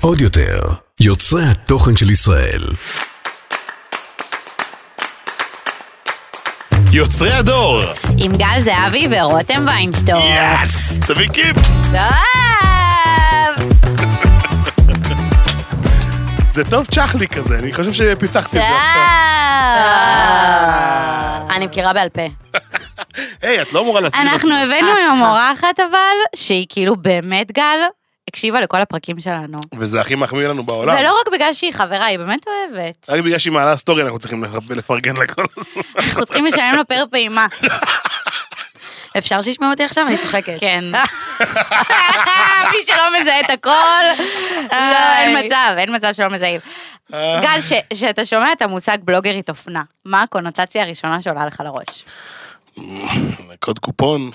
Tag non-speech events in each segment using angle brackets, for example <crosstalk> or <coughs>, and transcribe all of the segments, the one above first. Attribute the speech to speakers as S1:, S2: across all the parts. S1: עוד יותר, יוצרי התוכן של ישראל.
S2: יוצרי הדור!
S3: עם גל זהבי ורותם ויינשטור.
S2: יאס! תביא קיפ!
S3: טוב!
S2: זה טוב צ'חלי כזה, אני חושב שפיצחתי את זה
S3: אה?
S2: עכשיו.
S3: טוב! אני מכירה בעל פה.
S2: היי, את לא אמורה להסכים
S4: אנחנו
S2: לזה.
S4: הבאנו
S3: אף
S4: היום
S3: אחד.
S4: מורה אחת אבל, שהיא כאילו באמת גל, הקשיבה לכל הפרקים שלנו.
S2: וזה הכי מחמיא לנו בעולם.
S3: לא-
S4: ולא רק בגלל שהיא חברה, היא באמת אוהבת.
S2: רק בגלל שהיא מעלה סטורי אנחנו צריכים לפ- לפרגן לכל הזמן.
S4: אנחנו צריכים לשלם לה פר פעימה.
S3: אפשר שישמעו אותי עכשיו? אני צוחקת. <laughs>
S4: כן. מי שלא מזהה את הכל, לא, אין
S3: איי. אה.
S4: מצב, אין מצב שלא מזהים. גל, ש- שאתה שומע את המושג בלוגרית אופנה, מה הקונוטציה הראשונה שעולה לך לראש?
S2: קוד קופון.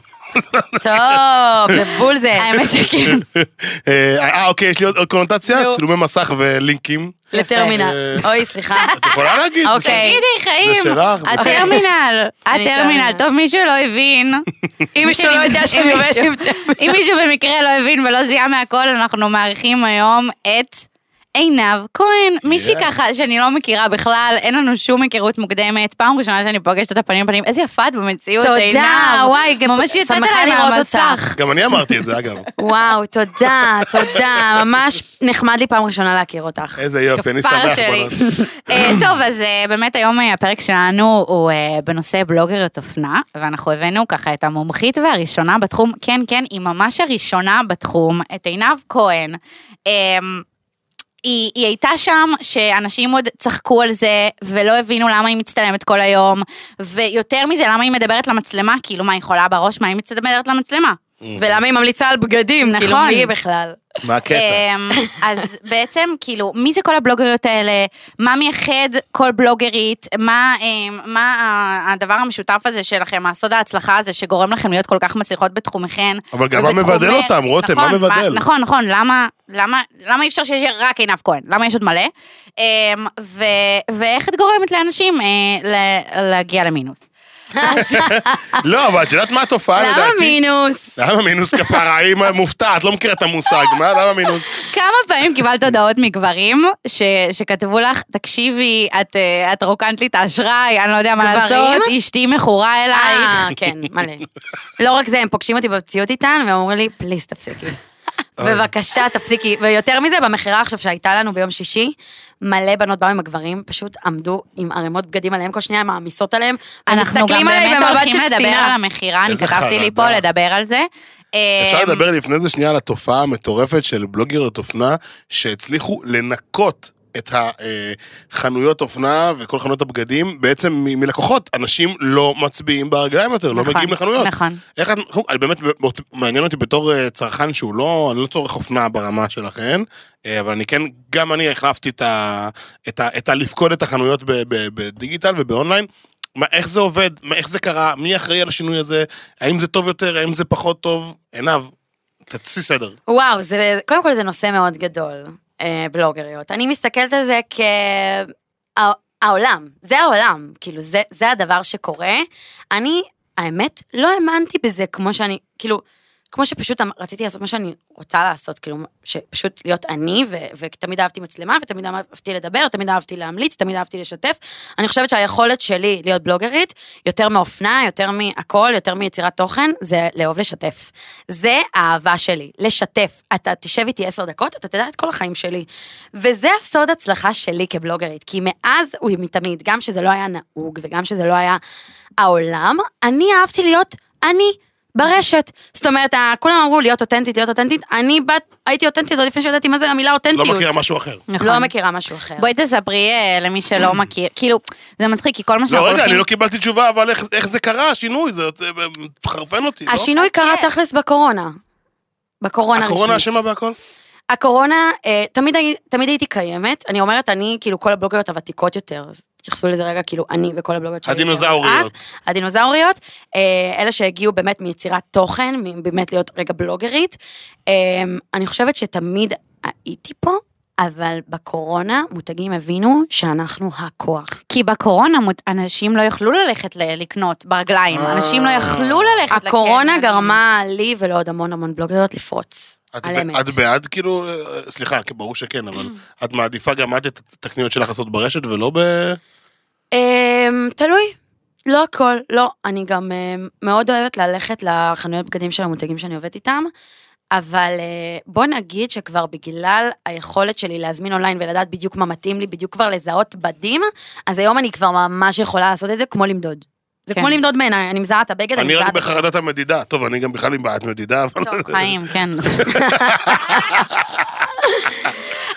S3: טוב, בבול זה.
S4: האמת שכן.
S2: אה, אה, אוקיי, יש לי עוד עוד קונוטציה?
S4: נו.
S2: צילומי מסך ולינקים.
S3: לטרמינל.
S2: יפה. אה,
S3: אוי, סליחה.
S4: <laughs>
S2: את יכולה להגיד.
S3: אוקיי.
S4: תגידי, חיים.
S2: זה שלך, בסדר.
S4: הטרמינל,
S3: <laughs> אני
S4: הטרמינל.
S3: טרמינל.
S4: טוב, מישהו לא הבין.
S3: <laughs> אם מישהו לא יודע שאני
S4: אם
S3: עובדת
S4: מישהו-
S3: עם טרמינל.
S4: אם מישהו במקרה לא הבין ולא זיהה מהכל, אנחנו מארחים היום את עינב כהן. מישהי
S2: Yes.
S4: ככה שאני לא מכירה בכלל, אין לנו שום היכרות מוקדמת. פעם ראשונה שאני פוגשת אותה פנים בפנים, איזה יפה את במציאות, עינב.
S3: תודה, וואי, גם
S4: ממש יצאת
S3: שמחה
S4: עליי
S3: לראות
S4: מהמסך.
S2: גם אני אמרתי את זה, אגב.
S3: וואו, תודה, תודה. ממש נחמד לי פעם ראשונה להכיר אותך.
S2: איזה יופי, אני שמח.
S4: כפרה שלי.
S2: בנות.
S4: <laughs> אה, טוב, אז אה, באמת היום אה, הפרק שלנו הוא אה, בנושא בלוגריות אופנה, ואנחנו הבאנו ככה את המומחית והראשונה בתחום, כן, כן, היא ממש הראשונה בתחום, את עינב כהן. אמ, היא, היא הייתה שם שאנשים עוד צחקו על זה ולא הבינו למה היא מצטלמת כל היום ויותר מזה למה היא מדברת למצלמה כאילו מה היא חולה בראש מה היא מצטלמת למצלמה.
S2: אוקיי.
S3: ולמה היא ממליצה על בגדים?
S4: נכון.
S3: כאילו, מי היא בכלל?
S2: מה
S3: אה,
S2: הקטע?
S4: אמ, אז בעצם, כאילו, מי זה כל הבלוגריות האלה? מה מייחד כל בלוגרית? מה, אמ, מה ה- הדבר המשותף הזה שלכם, הסוד ההצלחה הזה, שגורם לכם להיות כל כך מצליחות בתחומכן?
S2: אבל גם מה
S4: ובתחומך?
S2: מבדל אותם, רותם, מה
S4: נכון,
S2: מבדל?
S4: נכון, נכון, למה, למה, למה אי אפשר שיש רק עינב כהן? למה יש עוד מלא? אמ, ו, ואיך את גורמת לאנשים אה, ל- להגיע למינוס?
S2: לא, אבל את יודעת מה התופעה לדעתי?
S3: אה. למה מינוס?
S2: למה מינוס כפרה? היא מופתעת, לא מכירה את המושג. מה, למה מינוס?
S4: כמה פעמים קיבלת הודעות מגברים ש, שכתבו לך, תקשיבי, את, אה, את רוקנת לי את האשראי, אני לא יודע מה
S3: גברים?
S4: לעשות, אשתי מכורה
S3: אה,
S4: אלייך.
S3: כן, מלא. לא רק זה, הם פוגשים אותי במציאות איתן, והם אומרים לי, פליז
S4: <laughs>
S3: תפסיקי. בבקשה, תפסיקי. ויותר מזה, במכירה עכשיו שהייתה לנו ביום שישי, מלא בנות באו עם הגברים, פשוט עמדו עם ערימות בגדים עליהם כל שנייה, מעמיסות עליהם,
S4: אנחנו גם
S3: ומסתכלים עליי
S4: באמת
S3: במבט
S4: הולכים
S3: של
S4: לדבר
S3: שנאה.
S4: על המכירה, אני
S2: איזה
S4: כתבתי לי
S2: חרדה.
S4: פה לדבר על זה.
S2: אפשר
S4: אמ,
S2: לדבר לפני זה שנייה על התופעה המטורפת של בלוגריות אופנה שהצליחו לנקות את החנויות אופנה וכל חנויות הבגדים בעצם מ- מלקוחות. אנשים לא מצביעים ברגליים יותר, לא
S4: נכון,
S2: מגיעים לחנויות.
S4: נכון.
S2: איך את... קודם כל, אני באמת, מאוד- מעניין אותי בתור אה, צרכן שהוא לא, אני לא צורך אופנה ברמה שלכן, אה, אבל אני כן, גם אני החלפתי את ה... את ה... את ה... לפקוד את החנויות ב- ב- בדיגיטל ובאונליין. מה, איך זה עובד? מה, איך זה קרה? מי אחראי על השינוי הזה? האם זה טוב יותר? האם זה פחות טוב? עינב, תעשי סדר.
S3: וואו, זה, קודם כל זה נושא מאוד גדול, אה, בלוגריות. אני מסתכלת על זה כ... הע- העולם, זה העולם, כאילו, זה, זה הדבר שקורה. אני, האמת, לא האמנתי בזה כמו שאני, כאילו, כמו שפשוט אמ- רציתי לעשות מה שאני רוצה לעשות, כאילו, שפשוט להיות אני, ו- ותמיד אהבתי מצלמה, ותמיד אהבתי לדבר, תמיד אהבתי להמליץ, תמיד אהבתי לשתף. אני חושבת שהיכולת שלי להיות בלוגרית, יותר מהאופנה, יותר מהכל, יותר מיצירת תוכן, זה לאהוב לשתף. זה האהבה שלי, לשתף. אתה תשב איתי עשר דקות, אתה תדע את כל החיים שלי. וזה הסוד הצלחה שלי כבלוגרית, כי מאז ומתמיד, גם שזה לא היה נהוג, וגם שזה לא היה העולם, אני אהבתי להיות אני. ברשת. זאת אומרת, ה- כולם אמרו להיות אותנטית, להיות אותנטית. אני בת, הייתי אותנטית עוד לפני שידעתי מה זה המילה
S2: לא
S3: אותנטיות.
S2: מכיר משהו אחר.
S4: נכון.
S3: לא מכירה משהו אחר.
S4: בואי תספרי אה, למי שלא מכיר, כאילו, זה מצחיק, כי כל מה שאנחנו
S2: לא, רגע,
S4: הולכים...
S2: אני לא קיבלתי תשובה, אבל איך- איך זה קרה, השינוי? זה זה חרפן אותי, לא?
S3: השינוי קרה תכלס בקורונה. בקורונה רשמית.
S2: הקורונה אשמה בהכל?
S3: הקורונה, אה, תמיד, הי- תמיד הייתי קיימת. אני אומרת, אני, כאילו, כל הבלוגריות הוותיקות יותר, אז תתייחסו לזה רגע, כאילו, אני וכל הבלוגריות שהיו
S2: הדינוזאוריות.
S3: אז, הדינוזאוריות, אה, אלה שהגיעו באמת מיצירת תוכן, מ- באמת להיות רגע בלוגרית. אה, אני חושבת שתמיד הייתי פה, אבל בקורונה מותגים הבינו שאנחנו הכוח.
S4: כי בקורונה מות- אנשים לא יכלו ללכת ל- לקנות ברגליים,
S2: אה.
S4: אנשים לא יכלו ללכת לקנות.
S3: הקורונה גרמה לי ולעוד המון המון בלוגריות לפרוץ.
S2: את,
S3: על
S2: ב-
S3: אמת.
S2: את בעד כאילו, אה, סליחה, כי ברור שכן, אבל את מעדיפה גם את את התקניות שלך לעשות ברשת ולא ב...
S3: אמ, תלוי. לא הכל, לא. אני גם אמ, מאוד אוהבת ללכת לחנויות בגדים של המותגים שאני עובדת איתם, אבל אה, בוא נגיד שכבר בגלל היכולת שלי להזמין אונליין ולדעת בדיוק מה מתאים לי, בדיוק כבר לזהות בדים, אז היום אני כבר ממש יכולה לעשות את זה כמו למדוד. זה
S4: כן.
S3: כמו למדוד בעיניי, אני מזהה את הבגד, אני
S2: אני
S3: מזהה
S2: רק
S3: את...
S2: בחרדת המדידה. טוב, אני גם בכלל עם בעיית מדידה, אבל...
S4: טוב, חיים, כן.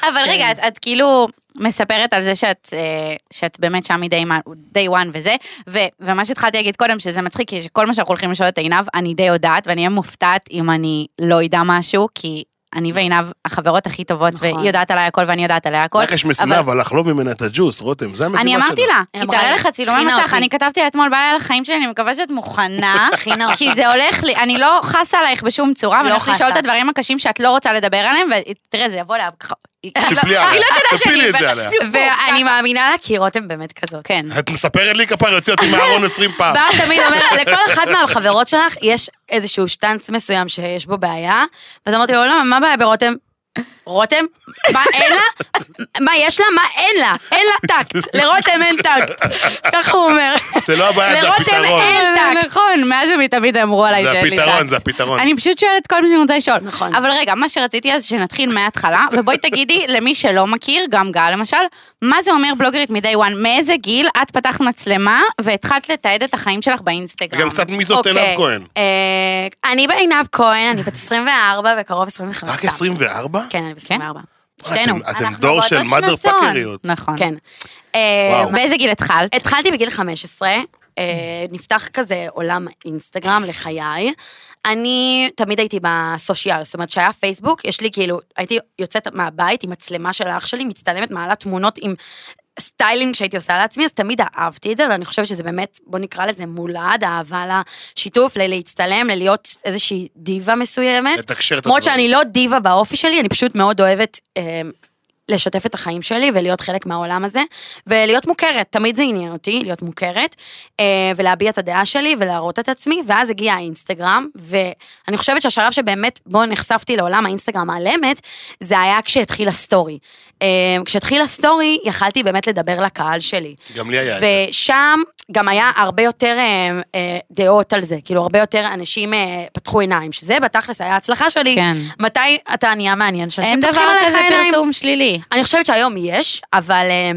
S4: אבל רגע, את- את כאילו מספרת על זה שאת, אה, שאת באמת שם מ-day one וזה, ו- ומה שהתחלתי להגיד קודם, שזה מצחיק, כי שכל מה שאנחנו הולכים לשאול את עינב, אני די יודעת, ואני אהיה מופתעת אם אני לא אדע משהו, כי אני ועינב החברות הכי טובות,
S3: נכון.
S4: והיא יודעת עליי הכל ואני יודעת עליה הכל.
S2: לך יש משימה, אבל לחלום ממנה את הג'וס, רותם, זה המשימה
S4: אני
S2: שלך.
S4: אמרתי לה,
S3: היא
S4: היא
S3: אמרה
S4: תראה
S3: לי,
S4: לך צילומי
S3: "הכינה
S4: מסך,
S3: אותי".
S4: אני כתבתי לה אתמול בעיה על החיים שלי, אני מקווה שאת <laughs> מוכנה,
S3: הכינה
S4: כי זה הולך לי, אני לא חסה עלייך בשום צורה,
S3: לא
S4: ואני הולכת לשאול את
S3: חסה.
S4: הדברים הקשים שאת לא רוצה לדבר עליהם, ותראה, זה יבוא לה... היא לא-
S2: תפלי
S4: היא
S2: עליה,
S4: לא תדע שאני...
S2: תפילי את זה עליה.
S3: ואני מאמינה לה כי רותם באמת כזאת.
S4: כן.
S2: את מספרת לי כפר, יוציא אותי מהארון 20 פעם.
S3: <laughs> בר תמיד אומר, לכל אחת מהחברות שלך יש איזשהו שטנץ מסוים שיש בו בעיה, ואז אמרתי לו, למה, מה הבעיה ברותם? רותם? מה אין לה? מה יש לה? מה אין לה? אין לה טקט. לרותם אין טקט. ככה הוא אומר. <laughs>
S2: זה לא הבעיה, זה
S3: לרותם
S2: הפתרון.
S3: אין טקט.
S4: נכון, מאז ומתמיד אמרו עליי
S2: זה
S4: שאין לי
S2: הפתרון,
S4: טקט.
S2: זה הפתרון.
S4: אני פשוט שואלת כל מה שאני רוצה לשאול.
S3: נכון.
S4: אבל רגע, מה שרציתי אז שנתחיל מההתחלה, ובואי תגידי <laughs> למי שלא מכיר, גם גל למשל, מה זה אומר בלוגרית מ-day one? מאיזה גיל את פתחת מצלמה והתחלת לתעד את החיים שלך באינסטגרם?
S2: גם קצת מי זאת
S3: אוקיי.
S2: עינב כהן.
S3: אה, אני בעינב כהן, אני בת 24 וקרוב 25.
S2: רק
S3: סתם.
S2: 24?
S3: כן, אני בת 24.
S2: אתם-
S3: שתינו.
S2: אתם
S4: אנחנו
S2: דור
S4: באותו
S2: של
S4: שנתון.
S2: mother fuckerיות.
S4: נכון.
S3: כן. אה,
S2: וואו.
S4: באיזה גיל התחלת?
S3: התחלתי בגיל 15, אה, נפתח כזה עולם אינסטגרם לחיי. אני תמיד הייתי בסושיאל, זאת אומרת שהיה פייסבוק, יש לי כאילו, הייתי יוצאת מהבית עם מצלמה של האח שלי, מצטלמת, מעלה תמונות עם סטיילינג שהייתי עושה לעצמי, אז תמיד אהבתי את זה, ואני חושבת שזה באמת, בוא נקרא לזה מולד, אהבה לשיתוף, ללהצטלם, ללהיות איזושהי דיבה מסוימת.
S2: לתקשר את
S3: למרות
S2: הדברים.
S3: שאני לא דיבה באופי שלי, אני פשוט מאוד אוהבת אה, לשתף את החיים שלי ולהיות חלק מהעולם הזה, ולהיות מוכרת, תמיד זה עניין אותי, להיות מוכרת, אה, ולהביע את הדעה שלי ולהראות את עצמי, ואז הגיע האינסטגרם, ואני חושבת שהשלב שבאמת בו נחשפתי לעולם האינסטגרם על אמת, זה היה כשהתחיל הסטורי. אה, כשהתחיל הסטורי, יכלתי באמת לדבר לקהל שלי.
S2: גם לי היה את זה.
S3: ושם גם היה הרבה יותר אה, אה, דעות על זה, כאילו הרבה יותר אנשים אה, פתחו עיניים, שזה בתכלס היה ההצלחה שלי.
S4: כן.
S3: מתי אתה נהיה מעניין?
S4: אין
S3: שאנשים פותחים
S4: דבר
S3: עליך
S4: כזה
S3: עיניים.
S4: פרסום שלילי.
S3: אני חושבת שהיום יש, אבל אה,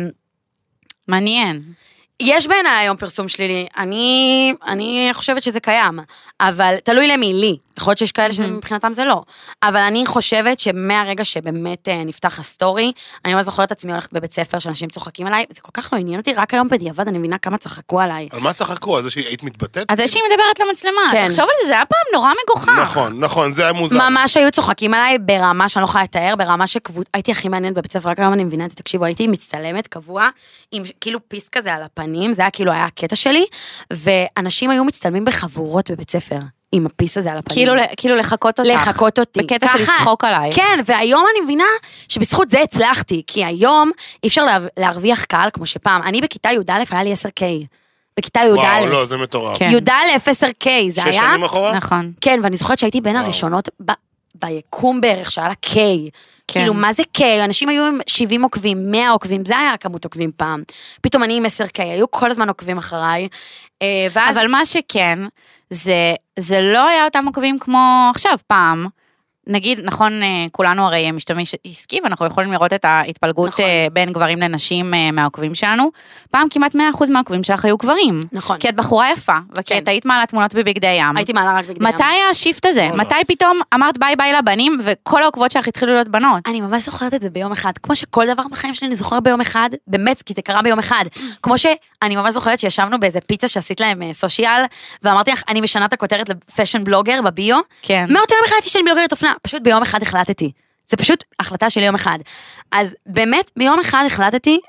S4: מעניין.
S3: יש בעיניי היום פרסום שלילי. אני, אני חושבת שזה קיים, אבל תלוי למי, לי. יכול להיות שיש כאלה שמבחינתם זה לא. אבל אני חושבת שמהרגע שבאמת אה, נפתח הסטורי, אני ממש זוכרת את עצמי הולכת בבית ספר שאנשים צוחקים עליי, וזה כל כך לא עניין אותי, רק היום בדיעבד אני מבינה כמה צחקו עליי.
S2: על מה צחקו? על זה שהיית מתבטאת?
S4: אז זה שהיא מדברת למצלמה,
S3: כן.
S4: תחשוב על זה, זה היה פעם נורא מגוחך.
S2: נכון, נכון, זה היה מוזר.
S3: ממש היו צוחקים עליי ברמה שאני לא יכולה לתאר, ברמה שקבוצ... הייתי הכי מעניינת בבית ספר, רק היום אני מבינה את זה, תקשיבו, הייתי מצטלמת קבוע, עם כאילו פיס כזה על הפנים, זה היה כאילו היה הקטע שלי, ואנשים היו מצטלמים בחבורות בבית ספר, עם הפיס הזה על הפנים.
S4: כאילו ל- כאילו לחקות אותך.
S3: לחקות אותי.
S4: בקטע של
S3: ככה.
S4: לצחוק עלייך.
S3: כן, והיום אני מבינה שבזכות זה הצלחתי, כי היום אי אפשר לה- להרוויח קהל כמו שפעם. אני בכיתה י"א היה לי 10K. בכיתה י"א.
S2: וואו, לא, זה מטורף.
S4: כן.
S3: י"א 10K, זה היה...
S2: שש שנים אחורה?
S4: נכון.
S3: כן, ואני זוכרת שהייתי בין
S2: וואו.
S3: הראשונות ב- ביקום בערך, שהיה לה K.
S4: כן.
S3: כאילו, מה זה K? אנשים היו עם 70 עוקבים, 100 עוקבים, זה היה כמות עוקבים פעם. פתאום אני עם 10K, היו כל הזמן עוקבים אחריי. אה, ואז,
S4: אבל מה שכן, זה, זה לא היה אותם עוקבים כמו עכשיו, פעם. נגיד, נכון, אה, כולנו הרי משתמש עסקי, ואנחנו יכולים לראות את ההתפלגות
S3: נכון.
S4: נכון. בין גברים לנשים אה, מהעוקבים שלנו. פעם כמעט 100% מהעוקבים שלך היו גברים.
S3: נכון.
S4: כי את בחורה יפה, וכי
S3: כן.
S4: את היית מעלה תמונות בבגדי ים.
S3: הייתי מעלה רק בגדי ים.
S4: מתי היה השיפט הזה?
S2: וואלה.
S4: מתי פתאום אמרת ביי ביי לבנים, וכל העוקבות שלך התחילו להיות בנות?
S3: אני ממש זוכרת את זה ביום אחד, כמו שכל דבר בחיים שלי אני זוכרת ביום אחד, באמת, כי זה קרה ביום אחד. כמו שאני ממש זוכרת שישבנו באיזה פיצה שעשית להם אה, סושיאל, ואמרתי לך, אני משנה את הכותרת לפשן בלוגר בביו.
S4: כן.
S3: מאותו יום החלטתי שאני בלוגרית אופנה, פשוט ביום אחד החלטתי. זה פשוט החלטה של יום אחד. אז באמת, ביום אחד החלטתי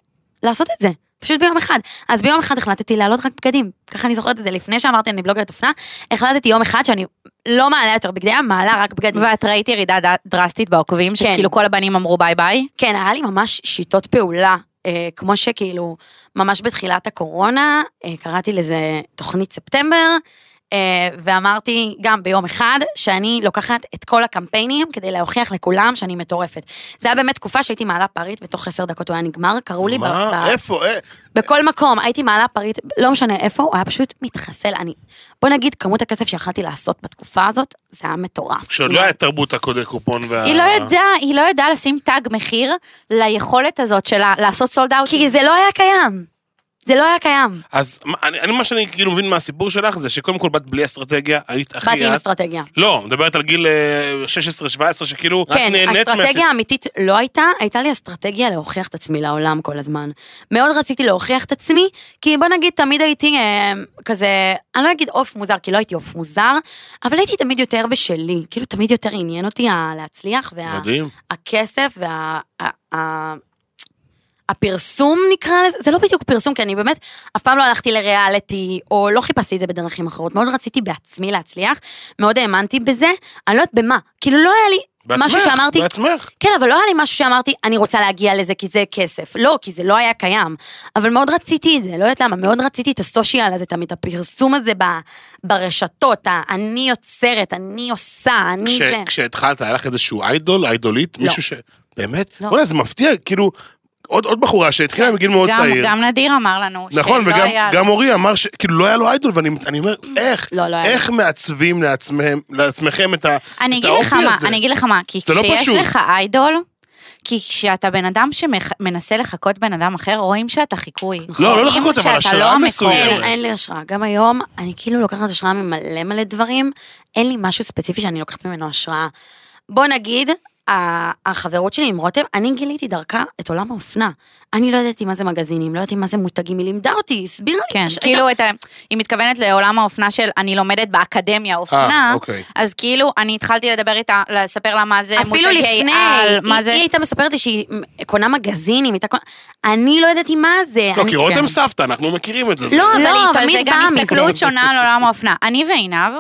S3: לעשות את זה. פשוט ביום אחד. אז ביום אחד החלטתי להעלות רק בגדים. ככה אני זוכרת את זה, לפני שאמרתי אני בלוגרת אופנה, החלטתי יום אחד שאני לא מעלה יותר בגדים, מעלה רק בגדים.
S4: ואת ראית ירידה ד- דרסטית בעוקבים,
S3: כן.
S4: שכאילו כל הבנים אמרו ביי ביי?
S3: כן, היה לי ממש שיטות פעולה, אה, כמו שכאילו, ממש בתחילת הקורונה, אה, קראתי לזה תוכנית ספטמבר, אה, ואמרתי גם ביום אחד, שאני לוקחת את כל הקמפיינים כדי להוכיח לכולם שאני מטורפת. זה היה באמת תקופה שהייתי מעלה פריט, ותוך עשר דקות הוא היה נגמר, קראו לי ב-
S2: מה?
S3: ב-
S2: איפה? אה,
S3: בכל מקום, הייתי מעלה פריט, לא משנה איפה, הוא היה פשוט מתחסל. אני, בוא נגיד, כמות הכסף שיכלתי לעשות בתקופה הזאת, זה היה מטורף. כאילו,
S2: כשעוד לא היה תרבות הקודי קופון וה...
S4: היא לא ידעה, היא לא ידעה לשים תג מחיר ליכולת הזאת שלה לעשות סולד אאוט.
S3: כי זה לא היה קיים. זה לא היה קיים.
S2: אז מה- אני, אני, מה שאני כאילו מבין מהסיפור שלך זה שקודם כל באת בלי אסטרטגיה, היית הכי...
S3: באתי עם
S2: את-
S3: אסטרטגיה.
S2: לא, מדברת על גיל אה, 16-17 שכאילו רק
S3: כן,
S2: נהנית
S3: אסטרטגיה אמיתית לא הייתה, הייתה לי אסטרטגיה להוכיח את עצמי לעולם כל הזמן. מאוד רציתי להוכיח את עצמי, כי בוא נגיד, תמיד הייתי אה, כזה, אני לא אגיד עוף מוזר, כי לא הייתי עוף מוזר, אבל הייתי תמיד יותר בשלי, כאילו תמיד יותר עניין אותי ה- להצליח, וה...
S2: מדהים.
S3: הכסף וה... ה- ה- הפרסום נקרא לזה, זה לא בדיוק פרסום, כי אני באמת אף פעם לא הלכתי לריאליטי, או לא חיפשתי את זה בדרכים אחרות, מאוד רציתי בעצמי להצליח, מאוד האמנתי בזה, אני לא יודעת במה, כאילו לא היה לי
S2: בעצמך,
S3: משהו שאמרתי,
S2: בעצמך.
S3: כן, אבל לא היה לי משהו שאמרתי, אני רוצה להגיע לזה כי זה כסף. לא, כי זה לא היה קיים. אבל מאוד רציתי את זה, לא יודעת למה, מאוד רציתי את הסושיאל הזה תמיד, הפרסום הזה ב- ברשתות, ה- אני יוצרת, אני עושה, אני
S2: כש,
S3: זה.
S2: כשהתחלת, היה לך איזשהו איידול, איידולית?
S3: לא.
S2: מישהו ש... באמת?
S3: לא.
S2: בוא'נה, זה מפתיע, כאילו, עוד, עוד בחורה שהתחילה מגיל מאוד
S4: גם,
S2: צעיר.
S4: גם נדיר אמר לנו.
S2: נכון,
S4: שלא
S2: וגם
S4: היה לו.
S2: גם אורי אמר שכאילו לא היה לו איידול, ואני אני אומר, איך?
S3: כן, לא לא, לא היה
S2: איך מעצבים לעצמם, לעצמכם את, ה,
S4: אני
S2: את
S4: אגיד לך
S2: האופי
S4: מה,
S2: הזה?
S4: אני אגיד לך מה, כי
S2: זה לא
S4: כשיש
S2: פשוט.
S4: לך איידול, כי כשאתה בן אדם שמנסה לחקות בן אדם אחר, רואים שאתה חיקוי.
S2: לא, לא
S4: רואים
S2: לחכות, אבל
S4: שאתה
S2: השראה
S4: לא המקור.
S2: מסוימת.
S3: אין, אין לי השראה. גם היום, אני כאילו לוקחת השראה ממלא מלא דברים, אין לי משהו ספציפי שאני לוקחת ממנו השראה. בוא נגיד, ה- החברות שלי עם רותם, אני גיליתי דרכה את עולם האופנה. אני לא ידעתי מה זה מגזינים, לא ידעתי מה זה מותגים, היא לימדה אותי, היא הסבירה לי.
S4: כן,
S3: ש- לא.
S4: כאילו, את ה- היא מתכוונת לעולם האופנה של אני לומדת באקדמיה
S2: אה,
S4: אופנה,
S2: אוקיי.
S4: אז כאילו, אני התחלתי לדבר איתה, לספר לה מה זה
S3: אפילו
S4: מותגי
S3: לפני,
S4: על,
S3: היא,
S4: מה
S3: היא
S4: זה...
S3: הייתה מספרת לי שהיא קונה מגזינים, הייתה קונה... אני לא ידעתי מה זה.
S2: לא,
S3: אני-
S2: כי רותם
S4: כן.
S2: סבתא, אנחנו מכירים את זה.
S3: לא,
S2: זה-
S3: אבל היא
S4: אבל
S3: תמיד
S4: זה גם
S3: באה מזה.
S4: הסתכלות שונה על עולם האופנה. אני ועינב,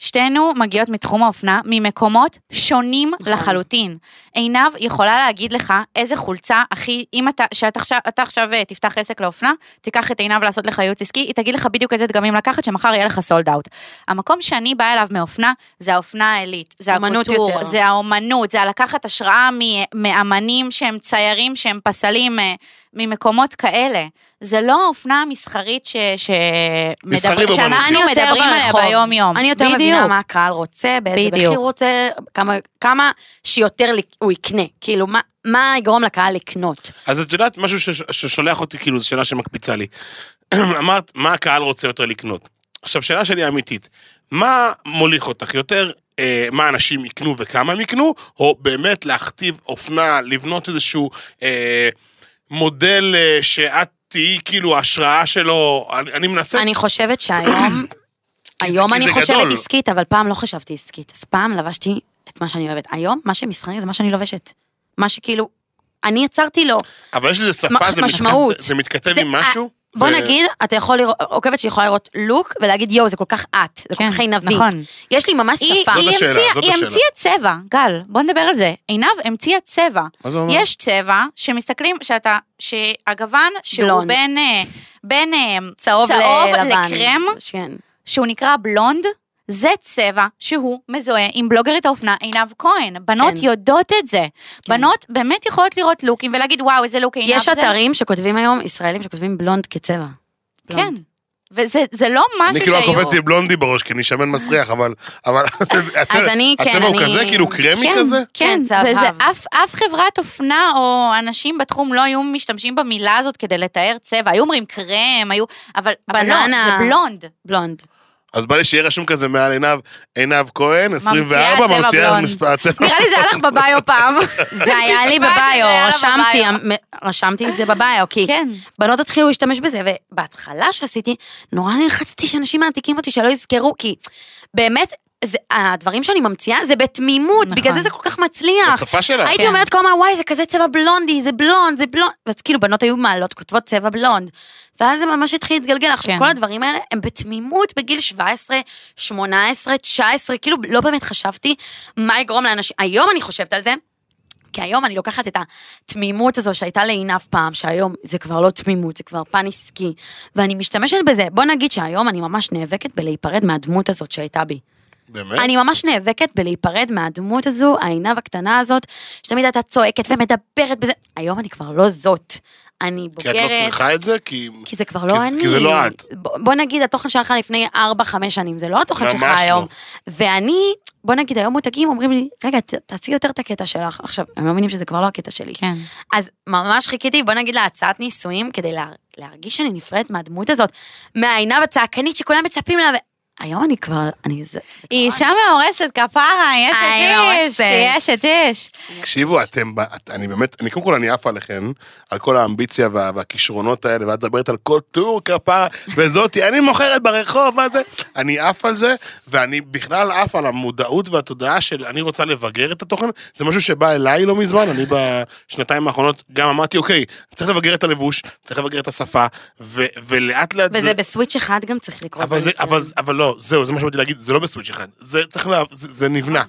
S4: שתינו מגיעות מתחום האופנה, ממקומות שונים
S3: נכון.
S4: לחלוטין. עינב יכולה להגיד לך איזה חולצה, אחי, אם אתה, שאתה עכשיו, אתה עכשיו אה, תפתח עסק לאופנה, תיקח את עינב לעשות לך ייעוץ עסקי, היא תגיד לך בדיוק איזה דגמים לקחת, שמחר יהיה לך סולד אאוט. המקום שאני באה אליו מאופנה, זה האופנה העילית, זה
S3: אומנות
S4: הקוטור,
S3: יותר.
S4: זה האומנות, זה הלקחת השראה מ- מאמנים שהם ציירים, שהם פסלים, אה, ממקומות כאלה. זה לא האופנה המסחרית ש... ש...
S2: מסחרי
S4: מדבר-
S2: ואומנותי.
S4: שאנחנו
S3: אני יותר
S4: מדברים עליה
S3: ברחוב.
S4: ביום-יום.
S3: אני יותר
S4: בדיוק.
S3: מבינה מה הקהל רוצה, באיזה
S4: בדיוק.
S3: מחיר הוא רוצה, כמה, כמה שיותר לי- הוא יקנה. כאילו, מה, מה יגרום לקהל לקנות?
S2: אז את יודעת, משהו שש- ששולח אותי, כאילו, זו שאלה שמקפיצה לי. <clears throat> אמרת, מה הקהל רוצה יותר לקנות? עכשיו, שאלה שלי אמיתית. מה מוליך אותך יותר? אה, מה אנשים יקנו וכמה הם יקנו? או באמת להכתיב אופנה, לבנות איזשהו אה, מודל אה, שאת תהיי כאילו ההשראה שלו? אני, אני מנסה...
S3: אני חושבת שהיום,
S2: <coughs> כי
S3: היום
S2: זה
S3: אני
S2: גדול.
S3: חושבת עסקית, אבל פעם לא חשבתי עסקית. אז פעם לבשתי את מה שאני אוהבת. היום, מה שמסחרי זה מה שאני לובשת. מה שכאילו, אני יצרתי לו.
S2: אבל יש לזה שפה,
S3: מח-
S2: זה,
S3: משמעות.
S2: מתכת, זה מתכתב
S3: זה- אה,
S2: עם משהו?
S3: בוא
S2: זה-
S3: נגיד, אתה יכול לראות, עוקבת שיכולה לראות לוק ולהגיד, יואו, זה כל כך את, זה כל
S4: כן,
S3: כך עינבי.
S4: נכון.
S3: יש לי ממש
S4: היא,
S3: שפה.
S4: היא,
S2: זאת השאלה,
S4: המציאה,
S2: זאת
S4: היא
S2: השאלה.
S4: המציאה צבע, גל, בוא נדבר על זה. עינב המציאה צבע.
S2: מה זה אומר?
S4: יש צבע שמסתכלים, שאתה, שהגוון שהוא
S3: בלונד.
S4: בין, אה, בין אה,
S3: צהוב
S4: צהוב
S3: ללבן.
S4: לקרם,
S3: כן.
S4: שהוא נקרא בלונד, זה צבע שהוא מזוהה עם בלוגרית האופנה עינב כהן. בנות
S3: כן.
S4: יודעות את זה. בנות באמת יכולות לראות לוקים ולהגיד, וואו, איזה לוק עינב
S3: יש
S4: זה.
S3: אתרים שכותבים היום, ישראלים שכותבים בלונד כצבע.
S4: כן.
S3: בלונד.
S4: וזה זה לא משהו
S2: אני
S4: שהיו...
S2: כאילו קופץ לי בלונדי בראש, כי אני שמן מסריח, אבל... אבל הצבע
S3: אני- כן,
S2: הצבע הוא
S3: אני-
S2: כזה, כאילו קרמי
S4: כן,
S2: כזה?
S4: כן,
S3: כן, צהבהב.
S4: וזה אף, אף חברת אופנה או אנשים בתחום לא היו משתמשים במילה הזאת כדי לתאר צבע, היו אומרים קרם, היו... אבל, אבל לא,
S3: בננה.
S4: זה בלונד.
S3: בלונד.
S2: אז בא לי שיהיה רשום כזה מעל עינב, עינב כהן, 24,
S4: צבע
S2: ממציאה
S4: בלונד.
S2: מספר הצבע.
S4: נראה
S3: <laughs>
S4: לי זה הלך בביו פעם.
S3: זה היה
S4: נשמע
S3: לי
S4: לי
S3: בביו,
S4: שזה היה לה
S3: רשמתי,
S4: בביו.
S3: המ- רשמתי את זה בביו, כי
S4: כן.
S3: בנות התחילו להשתמש בזה, ובהתחלה שעשיתי, נורא נלחצתי שאנשים מעתיקים אותי, שלא יזכרו, כי באמת, זה, הדברים שאני ממציאה זה בתמימות,
S4: נכון.
S3: נכון. בגלל זה זה כל כך מצליח.
S2: בשפה שלה.
S3: הייתי
S4: כן.
S3: אומרת כל הזמן, וואי, זה כזה צבע בלונדי, זה בלונד, זה בלונד. ואז כאילו בנות היו מעלות, כותבות צבע בלונד. ואז זה ממש התחיל להתגלגל. עכשיו,
S4: כן.
S3: כל הדברים האלה הם בתמימות בגיל 17, 18, 19, כאילו לא באמת חשבתי מה יגרום לאנשים. היום אני חושבת על זה. כי היום אני לוקחת את התמימות הזו שהייתה לעינב פעם, שהיום זה כבר לא תמימות, זה כבר פן עסקי, ואני משתמשת בזה. בוא נגיד שהיום אני ממש נאבקת בלהיפרד מהדמות הזאת שהייתה בי.
S2: באמת?
S3: אני ממש נאבקת בלהיפרד מהדמות הזו, העינב הקטנה הזאת, שתמיד הייתה צועקת ומדברת בזה. היום אני כבר לא זאת. אני
S2: כי את לא
S3: בוגרת.
S2: צריכה את זה? כי...
S3: כי זה כבר
S2: כי-
S3: לא אני.
S2: כי זה לא את.
S3: ב- בוא נגיד, התוכן שלך לפני 4-5 שנים, זה לא התוכן שלך
S2: ממש לא.
S3: היום. ואני, בוא נגיד, היום מותגים אומרים לי, רגע, ת- תעשי יותר את הקטע שלך. עכשיו, הם לא מבינים שזה כבר לא הקטע שלי.
S4: כן.
S3: אז ממש חיכיתי, בוא נגיד, להצעת נישואים, כדי לה, להרגיש שאני נפרדת מהדמות הזאת, מהעינב הצעקנית שכולם מצפים לה, והיום אני כבר, אני, זה, זה
S4: היא
S3: כבר
S4: אישה מאורסת, כפרה, יש
S3: אני
S4: את איש, יש
S3: מאורסת.
S4: את איש.
S2: תקשיבו, אתם, ב- את- אני באמת, אני קודם כל אני עף עליכן, על כל האמביציה וה, והכישרונות האלה, ואת מדברת על כל טור כפרה, וזאתי, אני מוכרת ברחוב, מה זה? אני עף על זה, ואני בכלל עף על המודעות והתודעה של אני רוצה לבגר את התוכן, זה משהו שבא אליי לא מזמן, אני בשנתיים האחרונות גם אמרתי, אוקיי, צריך לבגר את הלבוש, צריך לבגר את השפה, ו, ולאט לאט...
S3: וזה בסוויץ' אחד גם צריך לקרות.
S2: אבל, זה,
S3: בניסיון.
S2: אבל, אבל לא, זהו, זה מה שבאתי להגיד, זה לא בסוויץ' אחד, זה צריך לה... זה, זה נבנה.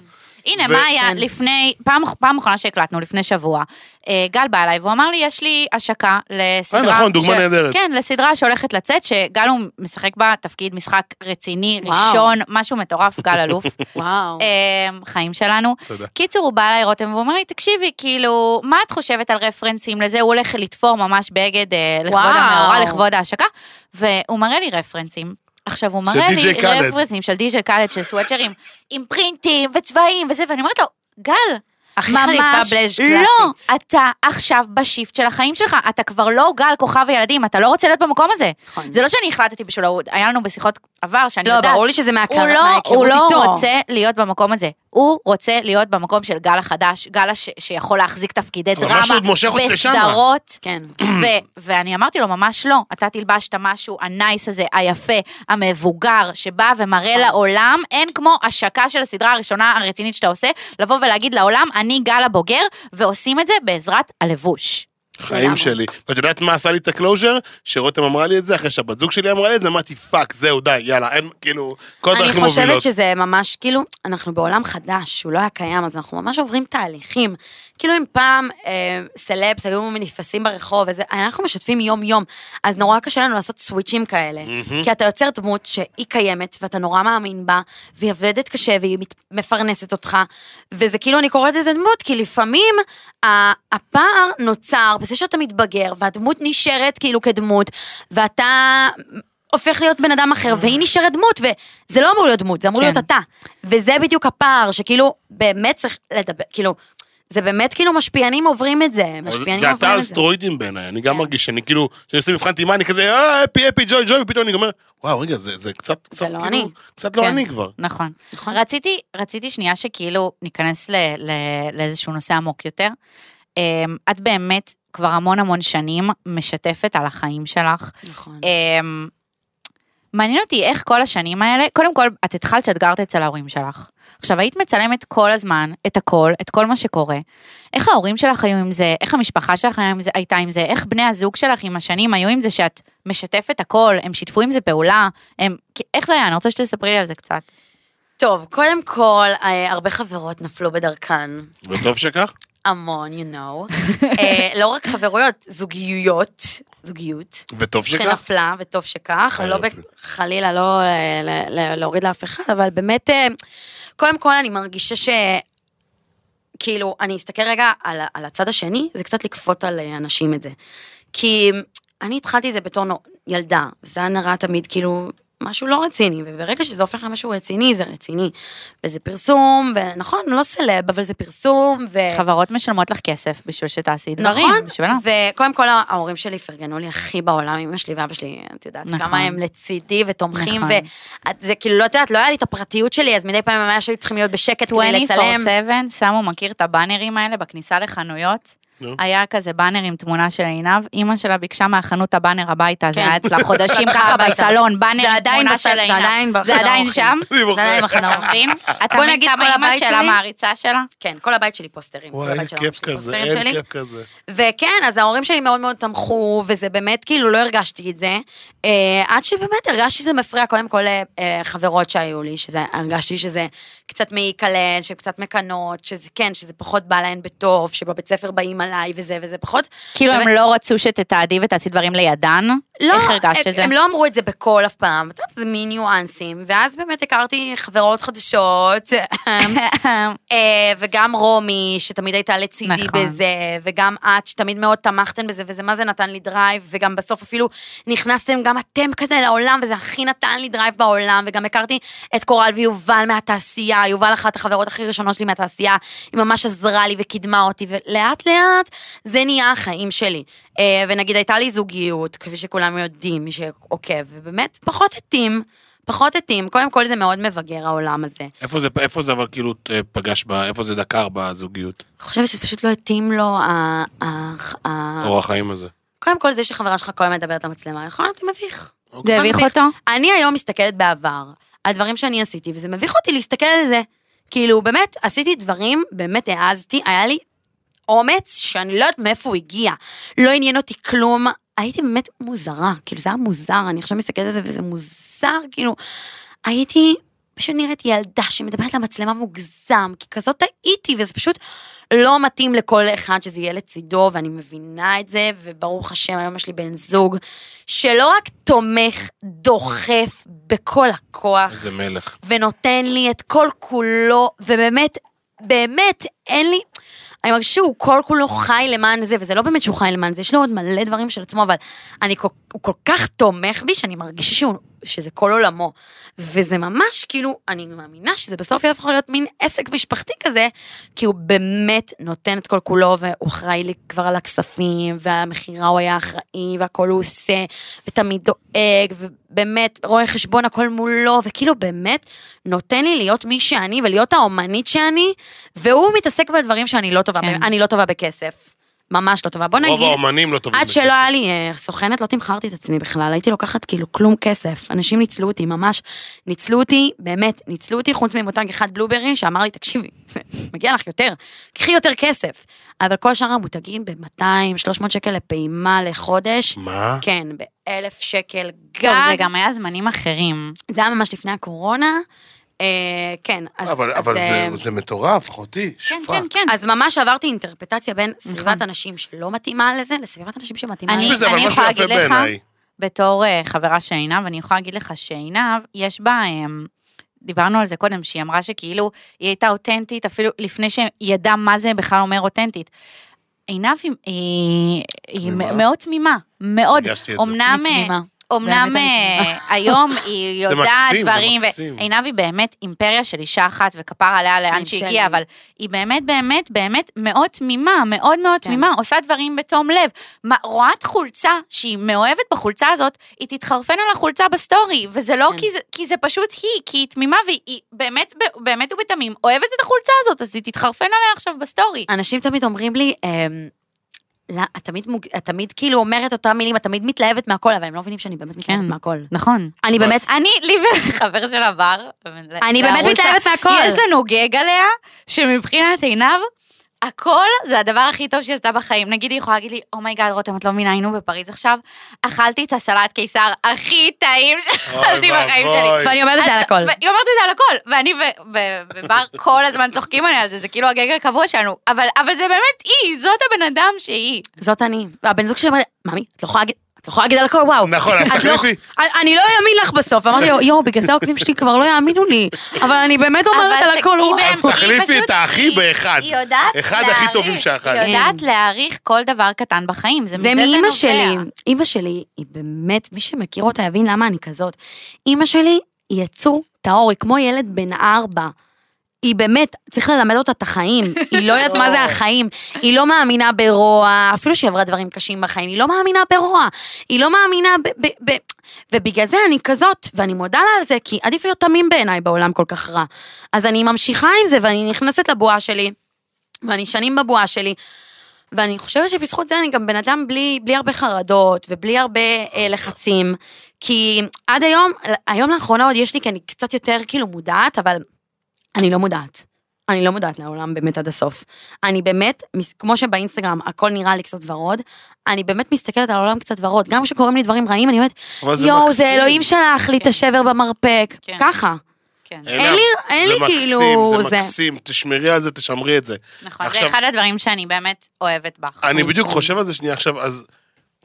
S4: הנה,
S2: ו-
S4: מה היה
S3: כן.
S4: לפני, פעם פעם אחרונה שהקלטנו, לפני שבוע, אה, גל בא אליי והוא אמר לי, יש לי השקה לסדרה...
S2: אה, נכון, דוגמה
S4: ש-
S2: נהדרת.
S4: כן, לסדרה שהולכת לצאת, שגל הוא משחק בה תפקיד משחק רציני,
S3: וואו.
S4: ראשון, משהו מטורף, גל
S2: <laughs>
S4: אלוף.
S3: וואו.
S4: אמ, חיים שלנו.
S2: תודה.
S4: קיצור, הוא בא אליי רותם והוא אומר לי, תקשיבי, כאילו, מה את חושבת על רפרנסים לזה? הוא הולך לתפור ממש בגד אה, לכבוד
S3: וואו.
S4: המאורע, לכבוד ההשקה, והוא מראה לי רפרנסים. עכשיו, הוא מראה לי
S2: DJ קאלד.
S4: רפרנסים של די.ג'יי קאלד, של סוואצ'רים, עם פרינטים וצבעים וזה, ואני אומרת לו, גל,
S3: הכי חליפה
S4: ממש
S3: בלאז'
S4: לא,
S3: קלאסית.
S4: אתה עכשיו בשיפט של החיים שלך, אתה כבר לא גל כוכב הילדים, אתה לא רוצה להיות במקום הזה.
S3: נכון.
S4: זה לא שאני החלטתי בשבילו, היה לנו בשיחות עבר שאני
S3: לא,
S4: יודעת.
S3: ברור לי שזה מהכר-
S4: הוא לא,
S3: מההיכרות
S4: הוא לא
S3: איתו.
S4: רוצה להיות במקום הזה. הוא רוצה להיות במקום של גל החדש, גל הש, שיכול להחזיק תפקידי
S2: אבל
S4: דרמה,
S2: משהו עוד מושך אותי לשמה.
S4: בסדרות.
S3: כן.
S4: ו- ואני אמרתי לו, ממש לא, אתה תלבש את המשהו הנייס הזה, היפה, המבוגר, שבא ומראה
S2: נכון.
S4: לעולם, אין כמו השקה של הסדרה הראשונה הרצינית שאתה עושה, לבוא ולהגיד לעולם, אני גל הבוגר, ועושים את זה בעזרת הלבוש.
S2: חיים שלי. ואת יודעת מה עשה לי את הקלוז'ר? שרותם אמרה לי את זה, אחרי שהבת זוג שלי אמרה לי את זה, אמרתי, פאק, זהו, די, יאללה, אין, כאילו, כל
S3: אני
S2: הדרכים
S3: חושבת
S2: מובילות.
S3: שזה ממש, כאילו, אנחנו בעולם חדש, שהוא לא היה קיים, אז אנחנו ממש עוברים תהליכים. כאילו אם פעם אה, סלבס היו נתפסים ברחוב, וזה, אנחנו משתפים יום-יום, אז נורא קשה לנו לעשות סוויצ'ים כאלה. כי אתה יוצר דמות שהיא קיימת, ואתה נורא מאמין בה, והיא עובדת קשה, והיא מת- מפרנסת אותך, וזה כאילו, אני קוראת לזה דמות, כי לפעמים ה- הפער נוצר בזה שאתה מתבגר, והדמות נשארת כאילו כדמות, ואתה... הופך להיות בן אדם אחר, והיא נשארת דמות, וזה לא אמור להיות דמות, זה אמור
S4: כן.
S3: להיות אתה. וזה בדיוק הפער, שכאילו, באמת צריך לדבר, כאילו, זה באמת כאילו משפיענים עוברים את זה, משפיענים
S2: זה אתה
S3: עוברים
S2: על
S3: לא את זה. כן.
S2: סטרואידים בעיניי, אני גם מרגיש שאני כאילו, כשאני עושה מבחן טעימה, אני כזה, אה, אפי, אפי, ג'וי, ג'וי, ופתאום אני אומר, וואו, רגע, זה זה קצת, קצת,
S3: לא
S2: כאילו,
S3: אני.
S2: קצת לא
S4: כן.
S2: אני כבר.
S4: נכון.
S3: נכון.
S2: אה,
S4: רציתי, רציתי שנייה שכאילו ניכנס ל, ל, לאיזשהו נושא עמוק יותר. אמ, את באמת כבר המון המון שנים משתפת על החיים שלך.
S3: נכון.
S4: אמ, מעניין אותי איך כל השנים האלה, קודם כל, את התחלת שאת גרת אצל ההורים שלך. עכשיו, היית מצלמת כל הזמן, את הכל, את כל מה שקורה. איך ההורים שלך היו עם זה, איך המשפחה שלך היה עם זה, הייתה עם זה, איך בני הזוג שלך עם השנים היו עם זה שאת משתפת הכל, הם שיתפו עם זה פעולה, הם... איך זה היה? אני רוצה שתספרי לי על זה קצת.
S3: טוב, קודם כל, אה, הרבה חברות נפלו בדרכן,
S2: וטוב שכך.
S3: המון, you
S2: <laughs>
S3: know. אה, לא רק חברויות, זוגיות, זוגיות.
S2: וטוב שכך.
S3: שנפלה, וטוב שכך,
S2: אה,
S3: לא
S2: יופי.
S3: ב- חלילה לא אה, ל- ל- להוריד לאף אחד, אבל באמת, אה, קודם כל אני מרגישה ש... כאילו, אני אסתכל רגע על, ה- על הצד השני, זה קצת לכפות על אה, אנשים את זה. כי אני התחלתי את זה בתור נו- ילדה, וזה היה נראה תמיד כאילו משהו לא רציני, וברגע שזה הופך למשהו רציני, זה רציני. וזה פרסום, ונכון, לא סלב, אבל זה פרסום, ו...
S4: חברות משלמות לך כסף בשביל שתעשי דברים. בשבילם.
S3: אה. נכון, וקודם כל ההורים שלי פרגנו לי הכי בעולם, אמא שלי ואבא שלי, את יודעת,
S4: נכון.
S3: כמה הם לצידי ותומכים,
S4: נכון.
S3: וזה כאילו, לא את יודעת, לא היה לי את הפרטיות שלי, אז מדי פעם הם ממש היו צריכים להיות בשקט כדי לצלם.
S4: 24/7, שמו, מכיר את הבאנרים האלה בכניסה לחנויות?
S2: נו.
S4: היה כזה באנר עם תמונה של עינב, אימא שלה ביקשה מהחנות הבאנר הביתה, זה
S3: כן.
S4: היה אצלה חודשים
S3: לקחה
S4: ככה
S3: הביתה.
S4: בסלון, באנר
S3: זה
S4: עם
S3: עדיין
S4: תמונה
S3: בס-
S4: של
S3: זה
S4: עינב.
S3: עדיין בחדר
S4: זה עדיין
S3: האורחים.
S4: שם?
S2: אני בוחר.
S3: זה עם החדר האורחים. <laughs>
S4: אורחים? אתה
S3: בוא
S4: מבין
S3: נגיד,
S4: כמה
S3: כל
S4: אימא
S3: הבית
S4: שלה
S3: שלי-
S4: מעריצה שלה?
S3: כן, כל הבית שלי פוסטרים. כל
S2: וואי,
S3: הבית
S2: איזה
S3: של ההורים
S2: כיף
S3: שלי
S2: כזה,
S3: פוסטרים
S2: אין
S3: שלי.
S2: כיף כזה.
S3: וכן, אז ההורים שלי מאוד מאוד תמכו, וזה באמת, כאילו, לא הרגשתי את זה. אה, עד שבאמת הרגשתי שזה מפריע, קודם כל, לחברות שהיו לי, שזה, הרגשתי שזה קצת מעיק עליהן, שקצת מקנות, שזה כן, שזה פחות בא להן בטוב, שבבית ספר באים עליי וזה וזה, פחות.
S4: כאילו הם
S3: באמת-
S4: לא רצו שתתעדי ותעשי דברים לידן?
S3: לא,
S4: איך הרגשת
S3: הם-
S4: את זה?
S3: הם לא אמרו את זה בקול אף פעם, את יודעת, זה מין ניואנסים, ואז באמת הכרתי
S4: <laughs>
S3: חברות חדשות, אה, וגם רומי, שתמיד הייתה לצידי
S4: נכון.
S3: נכון. בזה, וגם את, שתמיד מאוד תמכתן בזה, וזה מה זה נתן לי דרייב, וגם בסוף אפילו נכנסתם גם אתם כזה לעולם, וזה הכי נתן לי דרייב בעולם, וגם הכרתי את קורל ויובל מהתעשייה, יובל אחת החברות הכי ראשונות שלי מהתעשייה, היא ממש עזרה לי וקידמה אותי, ולאט לאט זה נהיה החיים שלי. אה, ונגיד הייתה לי זוגיות, כפי שכולם יודעים, מי שעוקב, ובאמת פחות התאים. פחות התאים, קודם כל זה מאוד מבגר העולם הזה.
S2: איפה זה, איפה זה אבל כאילו אה, פגש, ב, איפה זה דקר בזוגיות,
S3: אני חושבת שפשוט לא התאים לו ה... ה- ה-
S2: אורח החיים הזה?
S3: קודם כל זה שחברה שלך כל הזמן מדברת למצלמה, יכול להיות מביך.
S4: זה
S3: יכול
S4: הביך
S3: מביך.
S4: אותו?
S3: אני היום מסתכלת בעבר על דברים שאני עשיתי, וזה מביך אותי להסתכל על זה. כאילו, באמת, עשיתי דברים, באמת העזתי, היה לי אומץ שאני לא יודעת מאיפה הוא הגיע. לא עניין אותי כלום, הייתי באמת מוזרה, כאילו, זה היה מוזר, אני עכשיו מסתכלת על זה וזה מוזר, כאילו, הייתי פשוט נראית ילדה שמדברת למצלמה מוגזם, כי כזאת הייתי, וזה פשוט לא מתאים לכל אחד שזה יהיה לצידו, ואני מבינה את זה, וברוך השם, היום יש לי בן זוג שלא רק תומך, דוחף בכל הכוח.
S2: איזה מלך.
S3: ונותן לי את כל כולו, ובאמת, באמת, אין לי... אני מרגישה שהוא כל כולו חי למען זה, וזה לא באמת שהוא חי למען זה, יש לו עוד מלא דברים של עצמו, אבל אני כל, הוא כל כך תומך בי, שאני מרגישה שהוא, שזה כל עולמו. וזה ממש כאילו, אני מאמינה שזה בסוף יהפוך להיות מין עסק משפחתי כזה, כי הוא באמת נותן את כל כולו, והוא אחראי לי כבר על הכספים, ועל המכירה הוא היה אחראי, והכל הוא עושה, ותמיד דואג, ובאמת, רואה חשבון הכל מולו, וכאילו באמת נותן לי להיות מי שאני, ולהיות האומנית שאני, והוא מתעסק בדברים שאני לא טובה,
S4: כן.
S3: בהם. אני לא טובה בכסף. ממש לא טובה. בוא
S2: רוב
S3: נגיד,
S2: האומנים לא טובים
S3: עד
S2: בכסף.
S3: שלא היה לי אה, סוכנת, לא תמכרתי את עצמי בכלל, הייתי לוקחת כאילו כלום כסף. אנשים ניצלו אותי, ממש. ניצלו אותי, באמת, ניצלו אותי, חוץ ממותג אחד בלוברי, שאמר לי, תקשיבי, מגיע לך יותר, קחי יותר כסף. אבל כל שאר המותגים ב-200, 300 שקל לפעימה לחודש,
S2: מה?
S3: כן, ב-1,000 שקל
S4: טוב,
S3: גג.
S4: זה גם היה זמנים אחרים.
S3: זה היה ממש לפני הקורונה. אה, כן, אז...
S2: אבל,
S3: אז,
S2: אבל
S3: אה,
S2: זה, זה מטורף, אחותי,
S4: כן,
S2: שפרה.
S4: כן, כן.
S3: אז ממש עברתי אינטרפטציה בין סביבת אנשים שלא מתאימה לזה, לסביבת אנשים שמתאימה
S4: נכון. אני-
S2: יש
S3: לזה.
S2: בזה אבל
S4: אני
S2: משהו
S4: יכולה
S2: יפה
S4: להגיד לך-
S2: בעיניי.
S4: בתור אה, חברה של עינב, אני יכולה להגיד לך שעינב, יש בה, אמ, דיברנו על זה קודם, שהיא אמרה שכאילו היא הייתה אותנטית אפילו לפני שהיא ידעה מה זה בכלל אומר אותנטית. עינב היא- היא היא
S2: תמימה.
S4: מאוד תמימה, מאוד.
S2: הרגשתי את זה.
S4: אמנם...
S3: אני
S4: אה,
S3: תמימה.
S4: אמנם
S3: באמת אני
S4: אה, היום
S3: <laughs>
S4: היא
S2: זה
S4: יודעת
S2: מקסים, זה
S4: דברים,
S2: מקסים.
S4: ועינב היא באמת אימפריה של אישה אחת, וכפר עליה לאן
S3: כן,
S4: שהיא
S3: שלי.
S4: הגיעה, אבל היא באמת באמת באמת מאוד תמימה, מאוד מאוד
S3: כן.
S4: תמימה, עושה דברים בתום לב. מה- רואה את חולצה שהיא מאוהבת בחולצה הזאת, היא תתחרפן על החולצה בסטורי, וזה לא
S3: כן.
S4: כי זה- כי זה פשוט היא, כי היא תמימה, והיא היא באמת ב- באמת ובתמים אוהבת את החולצה הזאת, אז היא תתחרפן עליה עכשיו בסטורי.
S3: אנשים תמיד אומרים לי, אמ, לא, את תמיד, מוג... את תמיד כאילו אומרת אותם מילים, את תמיד מתלהבת מהכל, אבל הם לא מבינים שאני באמת מתלהבת
S4: כן.
S3: מהכל.
S4: נכון.
S3: אני באמת,
S4: אני, לי ולחבר של עבר,
S3: אני באמת מתלהבת מהכל.
S4: יש לנו גג עליה, שמבחינת עינב, הכל זה הדבר הכי טוב שהיא עשתה בחיים. נגיד, היא יכולה להגיד לי, אומייגאד, רותם, את לא מבינה, היינו בפריז עכשיו, אכלתי את הסלט קיסר הכי טעים שאכלתי
S2: אוי
S4: בחיים
S2: ואבוי.
S4: שלי.
S3: ואני אומרת את זה אה, על
S4: אז-
S3: הכל.
S4: והיא אומרת את זה על הכל, ואני ו- ו- ובר כל הזמן צוחקים עליה על זה, זה כאילו הגג הקבוע שלנו, אבל אבל זה באמת היא, זאת הבן אדם שהיא.
S3: זאת אני. והבן זוג שלי אומר, ממי, את לא יכולה להגיד... את לא יכולה להגיד על הכל, וואו.
S2: נכון, אז
S3: את לא-
S2: תחליפי.
S3: אני- אני לא אאמין לך בסוף. אמרתי לו, יואו, בגלל זה העוקבים שלי כבר לא יאמינו לי. אבל אני באמת אומרת
S4: אבל
S3: על הכל,
S4: היא
S3: וואו.
S4: באמת-
S2: אז תחליפי
S4: היא פשוט-
S2: את האחי
S4: היא-
S2: באחד.
S4: היא יודעת
S2: אחד הכי
S4: להעריך-
S2: טובים Mm. שאכלתי.
S4: היא יודעת להעריך כל דבר קטן בחיים, זה מזה
S3: זה
S4: זה נובע.
S3: מאימא שלי. אימא שלי היא באמת, מי שמכיר אותה יבין למה אני כזאת. אימא שלי היא יצור טהור, היא כמו ילד בן ארבע. היא באמת, צריך ללמד אותה את <laughs> החיים. היא לא יודעת מה זה החיים. היא לא מאמינה ברוע, אפילו שהיא עברה דברים קשים בחיים, היא לא מאמינה ברוע. היא לא מאמינה ב... ב, ב ובגלל זה אני כזאת, ואני מודה לה על זה, כי עדיף להיות תמים בעיניי בעולם כל כך רע. אז אני ממשיכה עם זה, ואני נכנסת לבועה שלי, ואני שנים בבועה שלי, ואני חושבת שבזכות זה אני גם בן אדם בלי, בלי הרבה חרדות ובלי הרבה אה, לחצים. כי עד היום, היום לאחרונה עוד יש לי, כי אני קצת יותר כאילו מודעת, אבל אני לא מודעת. אני לא מודעת לעולם באמת עד הסוף. אני באמת, מס- כמו שבאינסטגרם הכל נראה לי קצת ורוד, אני באמת מסתכלת על העולם קצת ורוד. גם כשקורים לי דברים רעים, אני אומרת,
S2: אבל זה
S3: יואו,
S2: מקסים.
S3: זה אלוהים שלח לי את השבר במרפק.
S4: כן.
S3: ככה.
S4: כן,
S2: אלה,
S3: אין לי- אין
S2: זה
S3: לי
S2: מקסים,
S3: כאילו
S2: זה
S3: זה.
S2: מקסים, תשמרי על זה, תשמרי את זה.
S4: נכון. זה
S2: עכשיו-
S4: אחד הדברים שאני באמת אוהבת בך.
S2: אני בדיוק חושב על זה שנייה עכשיו, אז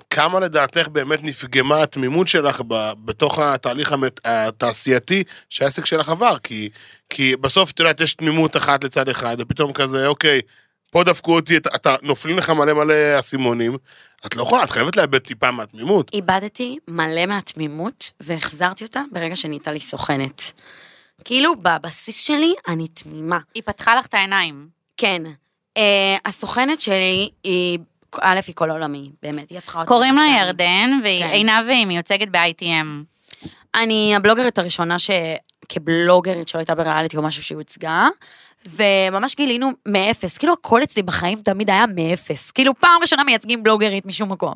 S2: כמה לדעתך באמת נפגמה התמימות שלך ב, בתוך התהליך המת, התעשייתי שהעסק שלך עבר? כי, כי בסוף, את יודעת, יש תמימות אחת לצד אחד, ופתאום כזה, אוקיי, פה דפקו אותי, אתה, אתה נופלים לך מלא מלא אסימונים, את לא יכולה, את חייבת לאבד טיפה מהתמימות.
S3: איבדתי מלא מהתמימות, והחזרתי אותה ברגע שנהייתה לי סוכנת. כאילו, בבסיס שלי, אני תמימה.
S4: היא פתחה לך את העיניים.
S3: כן. אה, הסוכנת שלי היא, א', היא כל עולמי, באמת, היא הפכה אותי.
S4: קוראים
S3: למה
S4: לה
S3: שאני.
S4: ירדן, והיא
S3: כן.
S4: עינב והיא מיוצגת ב-ITM.
S3: אני הבלוגרית הראשונה ש... כבלוגרית שלא הייתה בריאליטי או משהו שהוצגה, וממש גילינו מאפס, כאילו הכל אצלי בחיים תמיד היה מאפס, כאילו פעם ראשונה מייצגים בלוגרית משום מקום.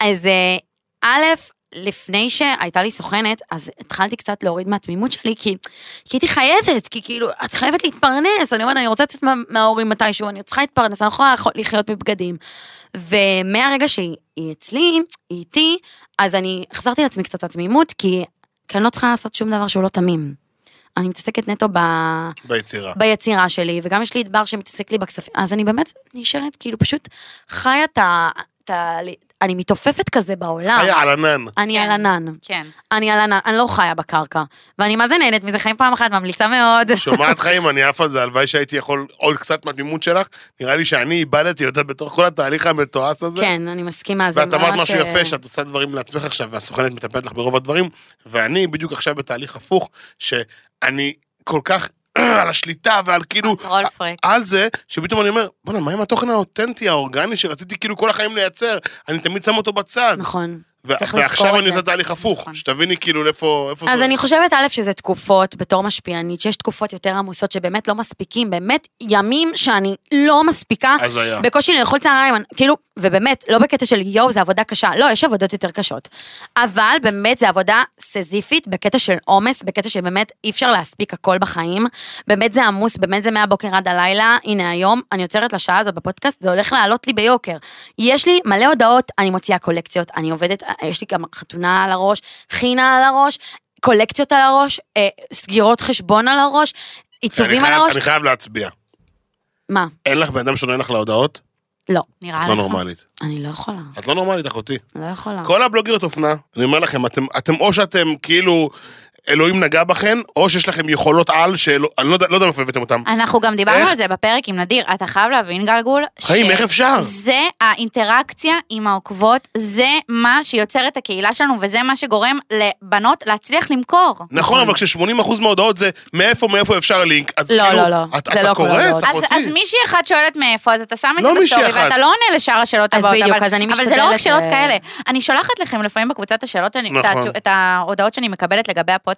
S3: אז אה, א', לפני שהייתה לי סוכנת, אז התחלתי קצת להוריד מהתמימות שלי, כי, כי הייתי חייבת, כי כאילו, את חייבת להתפרנס, אני אומרת, אני רוצה לצאת מה- מההורים מתישהו, אני צריכה להתפרנס, אני לא יכולה לאכול- לחיות בבגדים. ומהרגע שהיא היא אצלי, היא איתי, אז אני החזרתי לעצמי קצת את התמימות, כי, כי אני לא צריכה לעשות שום דבר שהוא לא תמים. אני מתעסקת נטו ב...
S2: ביצירה.
S3: ביצירה שלי, וגם יש לי את בר שמתעסק לי בכספים, אז אני באמת נשארת, כאילו פשוט חיה את ה... את ה- אני מתעופפת כזה בעולם.
S2: היה על ענן.
S3: אני
S4: כן.
S3: על ענן.
S4: כן.
S3: אני על ענן, אני לא חיה בקרקע. ואני מה זה נהנית מזה, חיים פעם אחת, ממליצה מאוד.
S2: שומעת חיים, אני עף על זה, הלוואי שהייתי יכול עוד קצת מהתמימות שלך. נראה לי שאני איבדתי אותה בתוך כל התהליך המתועש הזה.
S3: כן, אני מסכימה. זה
S2: ואת אמרת
S3: ממש,
S2: משהו
S3: אה,
S2: יפה, שאת עושה דברים לעצמך עכשיו, והסוכנת מטפלת לך ברוב הדברים, ואני בדיוק עכשיו בתהליך הפוך, שאני כל כך <clears throat> על השליטה ועל כאילו...
S4: קונטרול פריק.
S2: על זה, שפתאום אני אומר, בואנה, מה עם התוכן האותנטי, האורגני, שרציתי כאילו כל החיים לייצר? אני תמיד שם אותו בצד.
S3: נכון.
S2: ו-
S3: צריך
S2: ועכשיו אני
S3: לזכור את זה.
S2: עושה תהליך הפוך,
S4: נכון.
S2: שתביני כאילו לאיפה... איפה
S3: אז
S2: זה-
S3: אני חושבת, א', שזה תקופות, בתור משפיענית, שיש תקופות יותר עמוסות שבאמת לא מספיקים, באמת ימים שאני לא מספיקה,
S2: אז היה.
S3: בקושי לאכול צהריים, אני- כאילו, ובאמת, לא בקטע של יואו, זו עבודה קשה, לא, יש עבודות יותר קשות. אבל באמת זו עבודה סזיפית, בקטע של עומס, בקטע שבאמת אי אפשר להספיק הכל בחיים. באמת זה עמוס, באמת זה מהבוקר עד הלילה, הנה היום, אני עוצרת לשעה הזאת בפודקאסט, זה הולך לעלות לי ביוקר. יש לי מלא הודעות, אני מוציאה קולקציות, אני עובדת, אה, יש לי גם חתונה על הראש, חינה על הראש, קולקציות על הראש, אה, סגירות חשבון על הראש,
S2: אני
S3: עיצובים על
S2: חייב-
S3: הראש.
S2: אני חייב להצביע.
S3: מה?
S2: אין לך בן אדם שעונה לך להודעות?
S3: לא,
S4: נראה
S2: את
S4: לך.
S2: לא נורמלית.
S3: אני לא יכולה,
S2: את לא נורמלית, אחותי.
S3: לא יכולה.
S2: כל הבלוגריות אופנה, אני אומר לכם, אתם, אתם או שאתם כאילו אלוהים נגע בכם, או שיש לכם יכולות על שלא, אני לא יודע לא יודע מאיפה הבאתם אותם.
S4: אנחנו גם דיברנו
S2: איך?
S4: על זה בפרק עם נדיר, אתה חייב להבין גלגול,
S3: אה,
S2: חיים, איך אפשר?
S4: זה האינטראקציה עם העוקבות, זה מה שיוצר את הקהילה שלנו, וזה מה שגורם לבנות להצליח למכור.
S2: נכון, אבל כש-80% מההודעות זה מאיפה, מאיפה אפשר לינק, אז
S3: לא,
S2: כאילו,
S3: לא, לא.
S2: את,
S3: זה
S2: אתה
S3: לא כל
S2: קורס,
S4: אז,
S2: אחותי.
S4: אז מישהי אחת שואלת מאיפה, אז אתה שם את
S2: לא
S4: זה בסטורי,
S2: מישהי אחת.
S4: ואתה לא עונה לשאר השאלות
S3: אז
S4: הבאות.
S3: בדיוק,
S4: אבל,
S3: אז אני
S4: אבל זה לא רק
S3: משתדלת,
S4: שאלות
S3: אה,
S4: כאלה. אני שולחת לכם לפעמים בקבוצת השאלות, אני, את,
S2: נכון.
S4: התשו- את ההודעות שאני מקבלת לגבי הפודקאסט,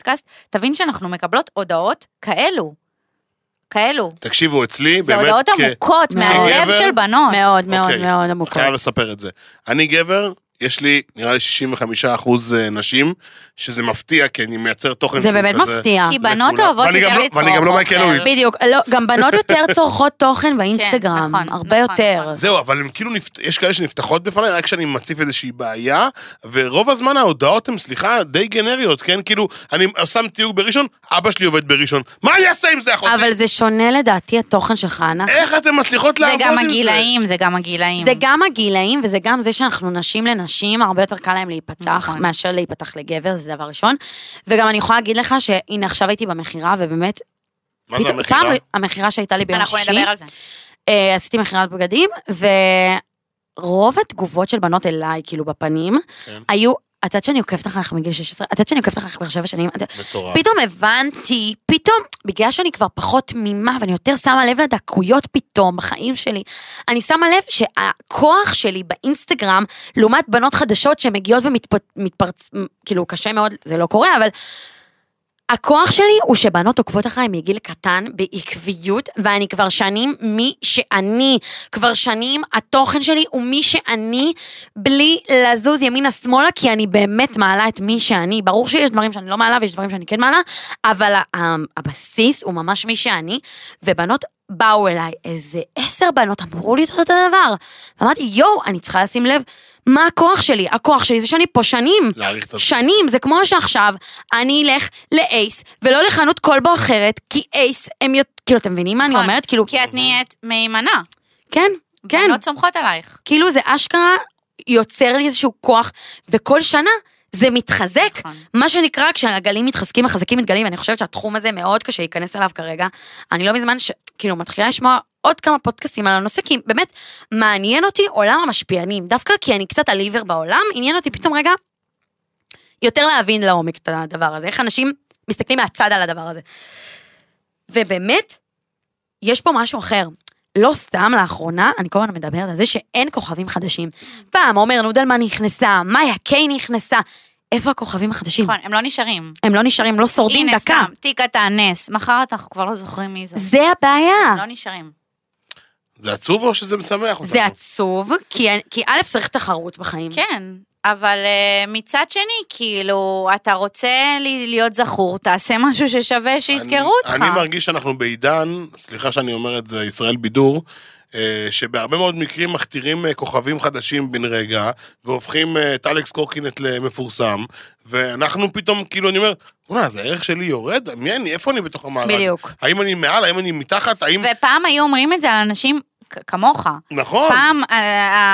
S4: תבין שאנחנו מקבלות הודעות כאלו. כאלו.
S2: תקשיבו, אצלי,
S4: זה
S2: באמת,
S4: הודעות
S2: כ-
S4: עמוקות,
S3: מאוד.
S4: מהלב
S2: כגבר,
S4: של בנות.
S3: מאוד מאוד
S2: אוקיי.
S3: מאוד עמוקות.
S2: חייב לספר את זה. אני גבר, יש לי נראה לי 65% אה, נשים, שזה מפתיע, כי אני מייצר תוכן
S3: זה
S2: שהוא
S3: באמת
S2: כזה-
S3: מפתיע.
S4: כי בנות
S2: לכולם.
S4: אוהבות
S2: ואני
S4: יותר
S2: גם לא-
S4: לצרוך
S2: ואני גם לא מייקל
S4: אוכל.
S2: אוליבס.
S3: בדיוק, לא, גם בנות יותר
S2: <laughs>
S3: צורכות תוכן באינסטגרם,
S4: נכון,
S3: הרבה
S4: נכון,
S3: יותר.
S4: נכון.
S2: זהו, אבל הם כאילו, נפ... יש כאלה שנפתחות בפניי רק כשאני מציף איזושהי בעיה, ורוב הזמן ההודעות הן, סליחה, די גנריות, כן? כאילו, אני שם תיוג בראשון, אבא שלי עובד בראשון. מה אני אעשה עם זה, אחותי?
S3: אבל זה שונה לדעתי התוכן שלך, אנחנו...
S2: איך אתן מצליחות
S4: זה
S2: לעבוד עם
S4: גם
S2: זה?
S4: הגילאים, זה גם הגילאים.
S3: זה גם הגילאים וזה גם זה שאנחנו נשים לנשים, הרבה יותר קל להם להיפתח
S4: נכון.
S3: מאשר להיפתח לגבר, זה דבר ראשון. וגם אני יכולה להגיד לך שהנה עכשיו הייתי במכירה, ובאמת,
S2: מה זה
S3: פתאום-
S2: המכירה?
S3: פעם המכירה שהייתה לי ביום
S4: אנחנו
S3: שישי,
S4: נדבר על זה.
S3: אה, עשיתי מכירת בגדים, ורוב התגובות של בנות אליי, כאילו בפנים,
S2: כן.
S3: היו, את יודעת שאני עוקבת אחריך מגיל 16, את יודעת שאני עוקבת אחריך כבר שבע שנים,
S2: אה.
S3: את-
S2: מטורף.
S3: פתאום הבנתי, פתאום, בגלל שאני כבר פחות תמימה ואני יותר שמה לב לדקויות פתאום בחיים שלי, אני שמה לב שהכוח שלי באינסטגרם, לעומת בנות חדשות שמגיעות ומתפרצ... כאילו, קשה מאוד, זה לא קורה, אבל הכוח שלי הוא שבנות עוקבות אחריי מגיל קטן בעקביות, ואני כבר שנים מי שאני. כבר שנים התוכן שלי הוא מי שאני, בלי לזוז ימינה-שמאלה, כי אני באמת מעלה את מי שאני. ברור שיש דברים שאני לא מעלה ויש דברים שאני כן מעלה, אבל ה- ה- הבסיס הוא ממש מי שאני, ובנות באו אליי, איזה עשר בנות אמרו לי את אותו דבר. ואמרתי, יואו, אני צריכה לשים לב מה הכוח שלי. הכוח שלי זה שאני פה שנים.
S2: להעריך את עצמך.
S3: שנים, זה כמו שעכשיו אני אלך לאייס ולא לחנות כלבו אחרת, כי אייס הם יותר, כאילו, אתם מבינים מה אני
S4: נכון.
S3: אומרת? כאילו,
S4: כי
S2: אוקיי.
S4: את נהיית מהימנה.
S3: כן, כן,
S4: בנות סומכות עלייך.
S3: כאילו זה אשכרה יוצר לי איזשהו כוח, וכל שנה זה מתחזק.
S4: נכון.
S3: מה שנקרא, כשהגלים מתחזקים, מחזקים מתגלים, ואני חושבת שהתחום הזה מאוד קשה להיכנס אליו כרגע. אני לא מזמן, ש... כאילו, מתחילה לשמוע עוד כמה פודקאסטים על הנושא, כי באמת, מעניין אותי עולם המשפיענים. דווקא כי אני קצת הליבר בעולם, עניין אותי פתאום רגע יותר להבין לעומק את הדבר הזה, איך אנשים מסתכלים מהצד על הדבר הזה. ובאמת, יש פה משהו אחר. לא סתם לאחרונה, אני כל הזמן מדברת על זה שאין כוכבים חדשים. פעם עומר נודלמן נכנסה, מאיה קיי נכנסה. איפה הכוכבים החדשים?
S4: נכון, הם לא נשארים.
S3: הם לא נשארים, לא שורדים
S4: הנה,
S3: כן. דקה.
S4: סתם, תיק אתה נס. מחר אנחנו כבר לא זוכרים מי זה.
S3: זה הבעיה.
S4: לא נשארים.
S2: זה עצוב או שזה משמח אותנו?
S3: זה עצוב, כי, כי א', צריך תחרות בחיים.
S4: כן, אבל אה, מצד שני, כאילו, אתה רוצה לי- להיות זכור, תעשה משהו ששווה שיזכרו
S2: אני-
S4: אותך.
S2: אני מרגיש שאנחנו בעידן, סליחה שאני אומר את זה, ישראל בידור, אה, שבהרבה מאוד מקרים מכתירים אה, כוכבים חדשים בן רגע, והופכים אה, את אלכס קורקינט למפורסם, ואנחנו פתאום, כאילו, אני אומר, בוא'נה, אז הערך שלי יורד? מי אני? איפה אני בתוך המארג?
S3: בדיוק.
S2: האם אני מעל? האם אני מתחת? האם...
S4: ופעם היו אומרים את זה על אנשים כ- כמוך.
S2: נכון.
S4: פעם אה,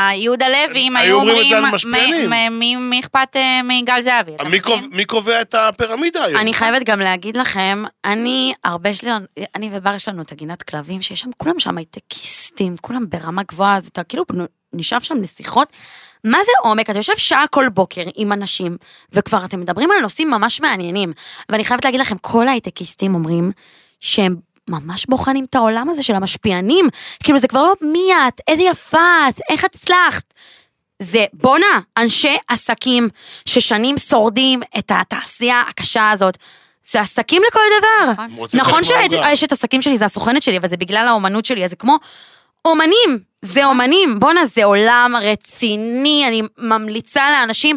S4: אה, יהודה לוי, אם
S2: היו
S4: היו
S2: אומרים את זה
S4: אומרים,
S2: על משפיענים.
S4: "מ- מ- מי- מי אכפת אה, מיגאל זהבי? כן. אתה
S2: מי
S4: מבין?
S2: קובע- מי קובע את הפירמידה היום?
S3: אני חייבת גם להגיד לכם, אני, הרבה שלי, אני ובר יש לנו את הגינת כלבים, שיש שם, כולם שם הייטקיסטים, כולם ברמה גבוהה, אז אתה כאילו בנו- נשאב שם לשיחות. מה זה עומק? אתה יושב שעה כל בוקר עם אנשים, וכבר אתם מדברים על נושאים ממש מעניינים. ואני חייבת להגיד לכם, כל ההייטקיסטים אומרים שהם ממש בוחנים את העולם הזה של המשפיענים. כאילו, זה כבר לא מי את, איזה יפה את, איך את הצלחת. זה בואנה, אנשי עסקים ששנים שורדים את התעשייה הקשה הזאת. זה עסקים לכל דבר.
S2: הם רוצים
S3: נכון
S2: חלק מהעוגה.
S3: שאשת עסקים שלי זה הסוכנת שלי, אבל זה בגלל האומנות שלי, אז זה כמו אומנים, זה אומנים. בואנה, זה עולם רציני, אני ממליצה לאנשים.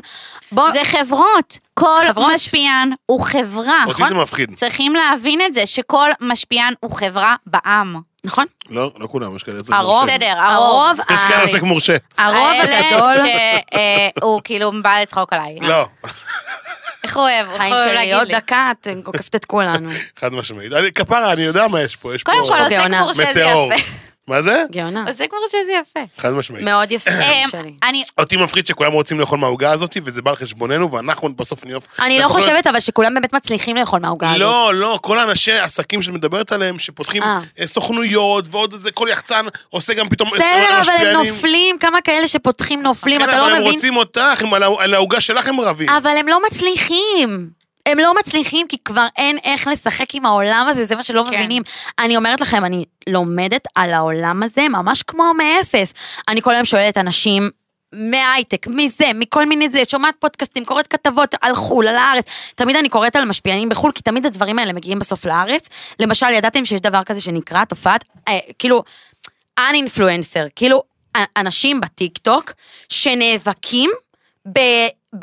S3: בוא...
S4: זה חברות. כל
S3: חברות.
S4: משפיען הוא חברה. נכון?
S2: אותי זה מפחיד.
S4: צריכים להבין את זה, שכל משפיען הוא חברה בעם.
S3: נכון?
S2: לא, לא כולם, יש כאלה עסק
S3: הרוב,
S2: מורשה.
S4: בסדר,
S3: הרוב,
S4: הרוב.
S2: יש כאלה עסק מורשה.
S3: הרוב הגדול,
S4: אלה שהוא כאילו בא לצחוק עליי.
S2: לא,
S4: איך הוא אוהב, איך
S3: חיים
S4: הוא אוהב
S3: שלי, עוד
S4: להגיד לי.
S3: דקה, את עוקפת את כולנו.
S2: חד משמעית. אני- כפרה, אני יודע מה יש פה. יש פה
S4: קודם כל, עוסק
S3: גאונה.
S4: מורשה זה
S2: אוקיי, מטאור.
S4: יפה.
S2: מה זה?
S3: גאונה.
S4: עוסק מורשה זה יפה.
S2: חד משמעית.
S3: מאוד יפה, חיים
S4: אה,
S3: שלי.
S4: אני,
S2: אותי מפחיד שכולם רוצים לאכול מהעוגה הזאת, וזה בא על חשבוננו, ואנחנו בסוף נעוף.
S3: אני לא
S2: אנחנו-
S3: חושבת אבל שכולם באמת מצליחים לאכול מהעוגה הזאת.
S2: לא, לא, כל האנשי העסקים שאת מדברת עליהם, שפותחים
S3: אה.
S2: אה, סוכנויות, ועוד איזה, כל יחצן עושה גם פתאום...
S3: בסדר, אבל הם
S2: משפיענים.
S3: נופלים, כמה כאלה שפותחים נופלים,
S2: כן,
S3: אתה
S2: אבל
S3: לא
S2: הם
S3: מבין.
S2: רוצים אותך, הם על ה- על העוגה שלך הם רבים.
S3: אבל הם לא מצליחים. הם לא מצליחים כי כבר אין איך לשחק עם העולם הזה, זה מה שלא
S4: כן.
S3: מבינים. אני אומרת לכם, אני לומדת על העולם הזה ממש כמו מאפס. אני כל היום שואלת אנשים מהייטק, מזה, מכל מיני זה, שומעת פודקאסטים, קוראת כתבות על חו"ל, על הארץ. תמיד אני קוראת על משפיענים בחו"ל, כי תמיד הדברים האלה מגיעים בסוף לארץ. למשל, ידעתם שיש דבר כזה שנקרא תופעת, אה, כאילו, אנ-אינפלואנסר, כאילו, א- אנשים בטיקטוק שנאבקים ב-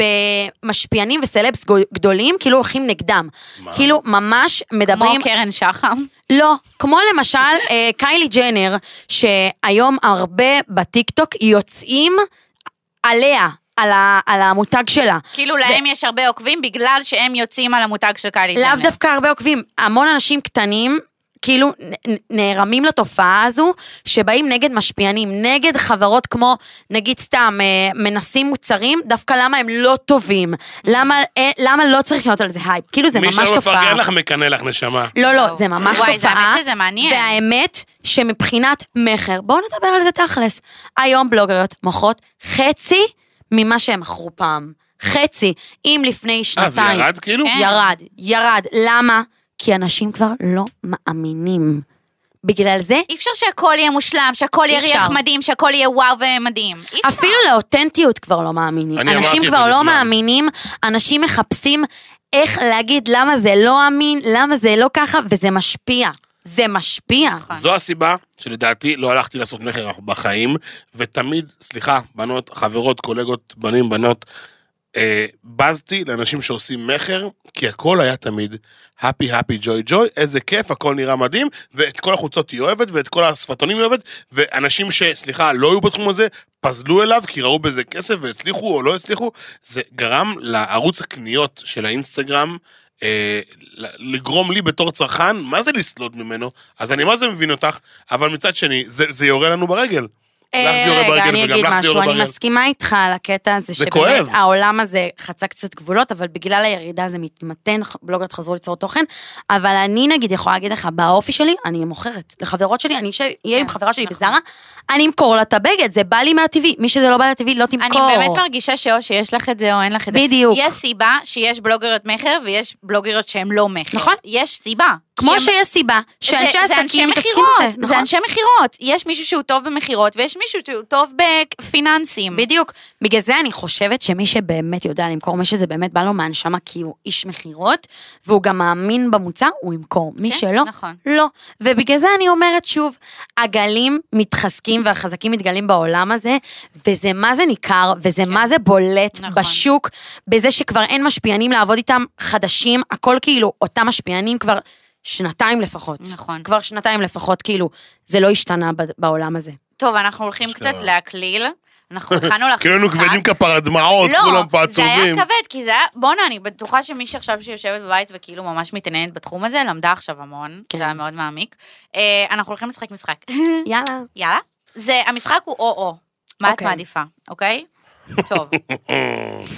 S3: במשפיענים וסלבס גו- גדולים, כאילו הולכים נגדם.
S2: מה?
S3: כאילו, ממש
S4: כמו
S3: מדברים...
S4: קרן שחם.
S3: לא, כמו למשל אה, קיילי ג'נר, שהיום הרבה בטיקטוק יוצאים עליה, על, ה, על המותג שלה.
S4: כאילו להם יש הרבה עוקבים בגלל שהם יוצאים על המותג של קיילי ג'נר.
S3: לאו דווקא הרבה עוקבים, המון אנשים קטנים. כאילו נ- נ- נערמים לתופעה הזו, שבאים נגד משפיענים, נגד חברות כמו, נגיד סתם, אה, מנסים מוצרים, דווקא למה הם לא טובים, למה, אה, למה לא צריך להיות על זה הייפ, כאילו זה ממש
S2: מי שלא
S3: תופעה.
S2: מפרגן לך, מקנא לך, נשמה.
S3: לא, לא,
S4: וואו.
S3: זה ממש
S4: וואי, זה
S3: תופעה.
S4: האמת שזה מעניין.
S3: והאמת שמבחינת מכר, בואו נדבר על זה תכלס. היום בלוגריות מוכרות חצי ממה שהם מכרו פעם. חצי. אם לפני
S2: אה, זה
S3: שנתיים...
S2: ירד כאילו?
S4: כן.
S3: ירד, ירד. למה? כי אנשים כבר לא מאמינים. בגלל זה,
S4: אי אפשר שהכל יהיה מושלם, שהכל יהיה
S3: אי אפשר.
S4: ריח מדהים, שהכל יהיה וואו ומדהים. אי אפשר.
S3: אפילו לאותנטיות כבר לא מאמינים.
S2: אני אמרתי
S3: אנשים
S2: את
S3: כבר
S2: זה
S3: לא
S2: מזמן.
S3: מאמינים, אנשים מחפשים איך להגיד למה זה לא אמין, למה זה לא ככה, וזה משפיע. זה משפיע.
S4: נכון.
S2: זו הסיבה שלדעתי לא הלכתי לעשות מכר בחיים, ותמיד, סליחה, בנות, חברות, קולגות, בנים, בנות, אה, בזתי לאנשים שעושים מכר, כי הכל היה תמיד הפי הפי ג'וי ג'וי, איזה כיף, הכל נראה מדהים, ואת כל החולצות היא אוהבת, ואת כל השפתונים היא אוהבת, ואנשים שסליחה, לא היו בתחום הזה, פזלו אליו כי ראו בזה כסף והצליחו או לא הצליחו, זה גרם לערוץ הקניות של האינסטגרם. אה, ל- לגרום לי בתור צרכן, מה זה לסלוד ממנו? אז אני מה זה מבין אותך, אבל מצד שני, זה, זה יורה לנו ברגל. לך זה יורה
S3: אה, רגע,
S2: ברגל
S3: אני
S2: וגם
S3: אגיד
S2: לך זה
S3: משהו,
S2: יורה
S3: אני
S2: ברגל.
S3: מסכימה איתך על הקטע הזה,
S2: זה
S3: שבאמת
S2: כואב.
S3: העולם הזה חצה קצת גבולות, אבל בגלל הירידה זה מתמתן, בלוגריות חזרו ליצור תוכן, אבל אני נגיד יכולה להגיד לך, באופי שלי, אני מוכרת. לחברות שלי, אני אשב- אהיה עם
S4: כן,
S3: חברה שלי
S4: נכון.
S3: בזארה, אני אמכור לה את הבגד, זה בא לי מהטבעי, מי שזה לא בא לטבעי לא
S4: אני
S3: תמכור.
S4: באמת מרגישה שאו שיש לך את זה או אין לך את זה.
S3: בדיוק.
S4: יש סיבה שיש בלוגריות מכר ויש בלוגריות שהן לא מכר.
S3: נכון.
S4: יש סיבה. כי
S3: כמו
S4: הם-
S3: שיש סיבה
S4: זה-
S3: שאנשי
S4: זה אנשי
S3: עסקים מתעסקים
S4: מכירות,
S3: בזה,
S4: זה
S3: נכון?
S4: אנשי מכירות. יש מישהו שהוא טוב במכירות ויש מישהו שהוא טוב בפיננסים.
S3: בדיוק. בגלל זה אני חושבת שמי שבאמת יודע למכור, מי שזה באמת בא לו מהנשמה כי הוא איש מכירות, והוא גם מאמין במוצר, הוא ימכור. מי
S4: כן,
S3: שלא,
S4: נכון.
S3: לא. ובגלל זה אני אומרת שוב, הגלים מתחזקים והחזקים מתגלים בעולם הזה, וזה מה זה ניכר, וזה מה זה בולט
S4: כן. נכון.
S3: בשוק, בזה שכבר אין משפיענים לעבוד איתם חדשים, הכל כאילו אותם משפיענים כבר שנתיים לפחות.
S4: נכון.
S3: כבר שנתיים לפחות, כאילו, זה לא השתנה ב- בעולם הזה.
S4: טוב, אנחנו הולכים
S2: אשכרה.
S4: קצת להקליל.
S2: <laughs>
S4: אנחנו הכנו לך משחק.
S2: כאילו היינו כבדים כפרה דמעות, כולם פה
S4: לא, זה
S2: עצובים.
S4: היה כבד, כי זה היה... בואנה, אני בטוחה שמי שעכשיו שיושבת בבית וכאילו ממש מתעניינת בתחום הזה, למדה עכשיו המון.
S3: כן.
S4: זה היה מאוד מעמיק. אה, אנחנו הולכים לשחק משחק. <laughs>
S3: יאללה.
S4: יאללה. זה, המשחק הוא או-או. מה את
S3: אוקיי.
S4: מעדיפה, אוקיי?
S2: <laughs>
S4: טוב,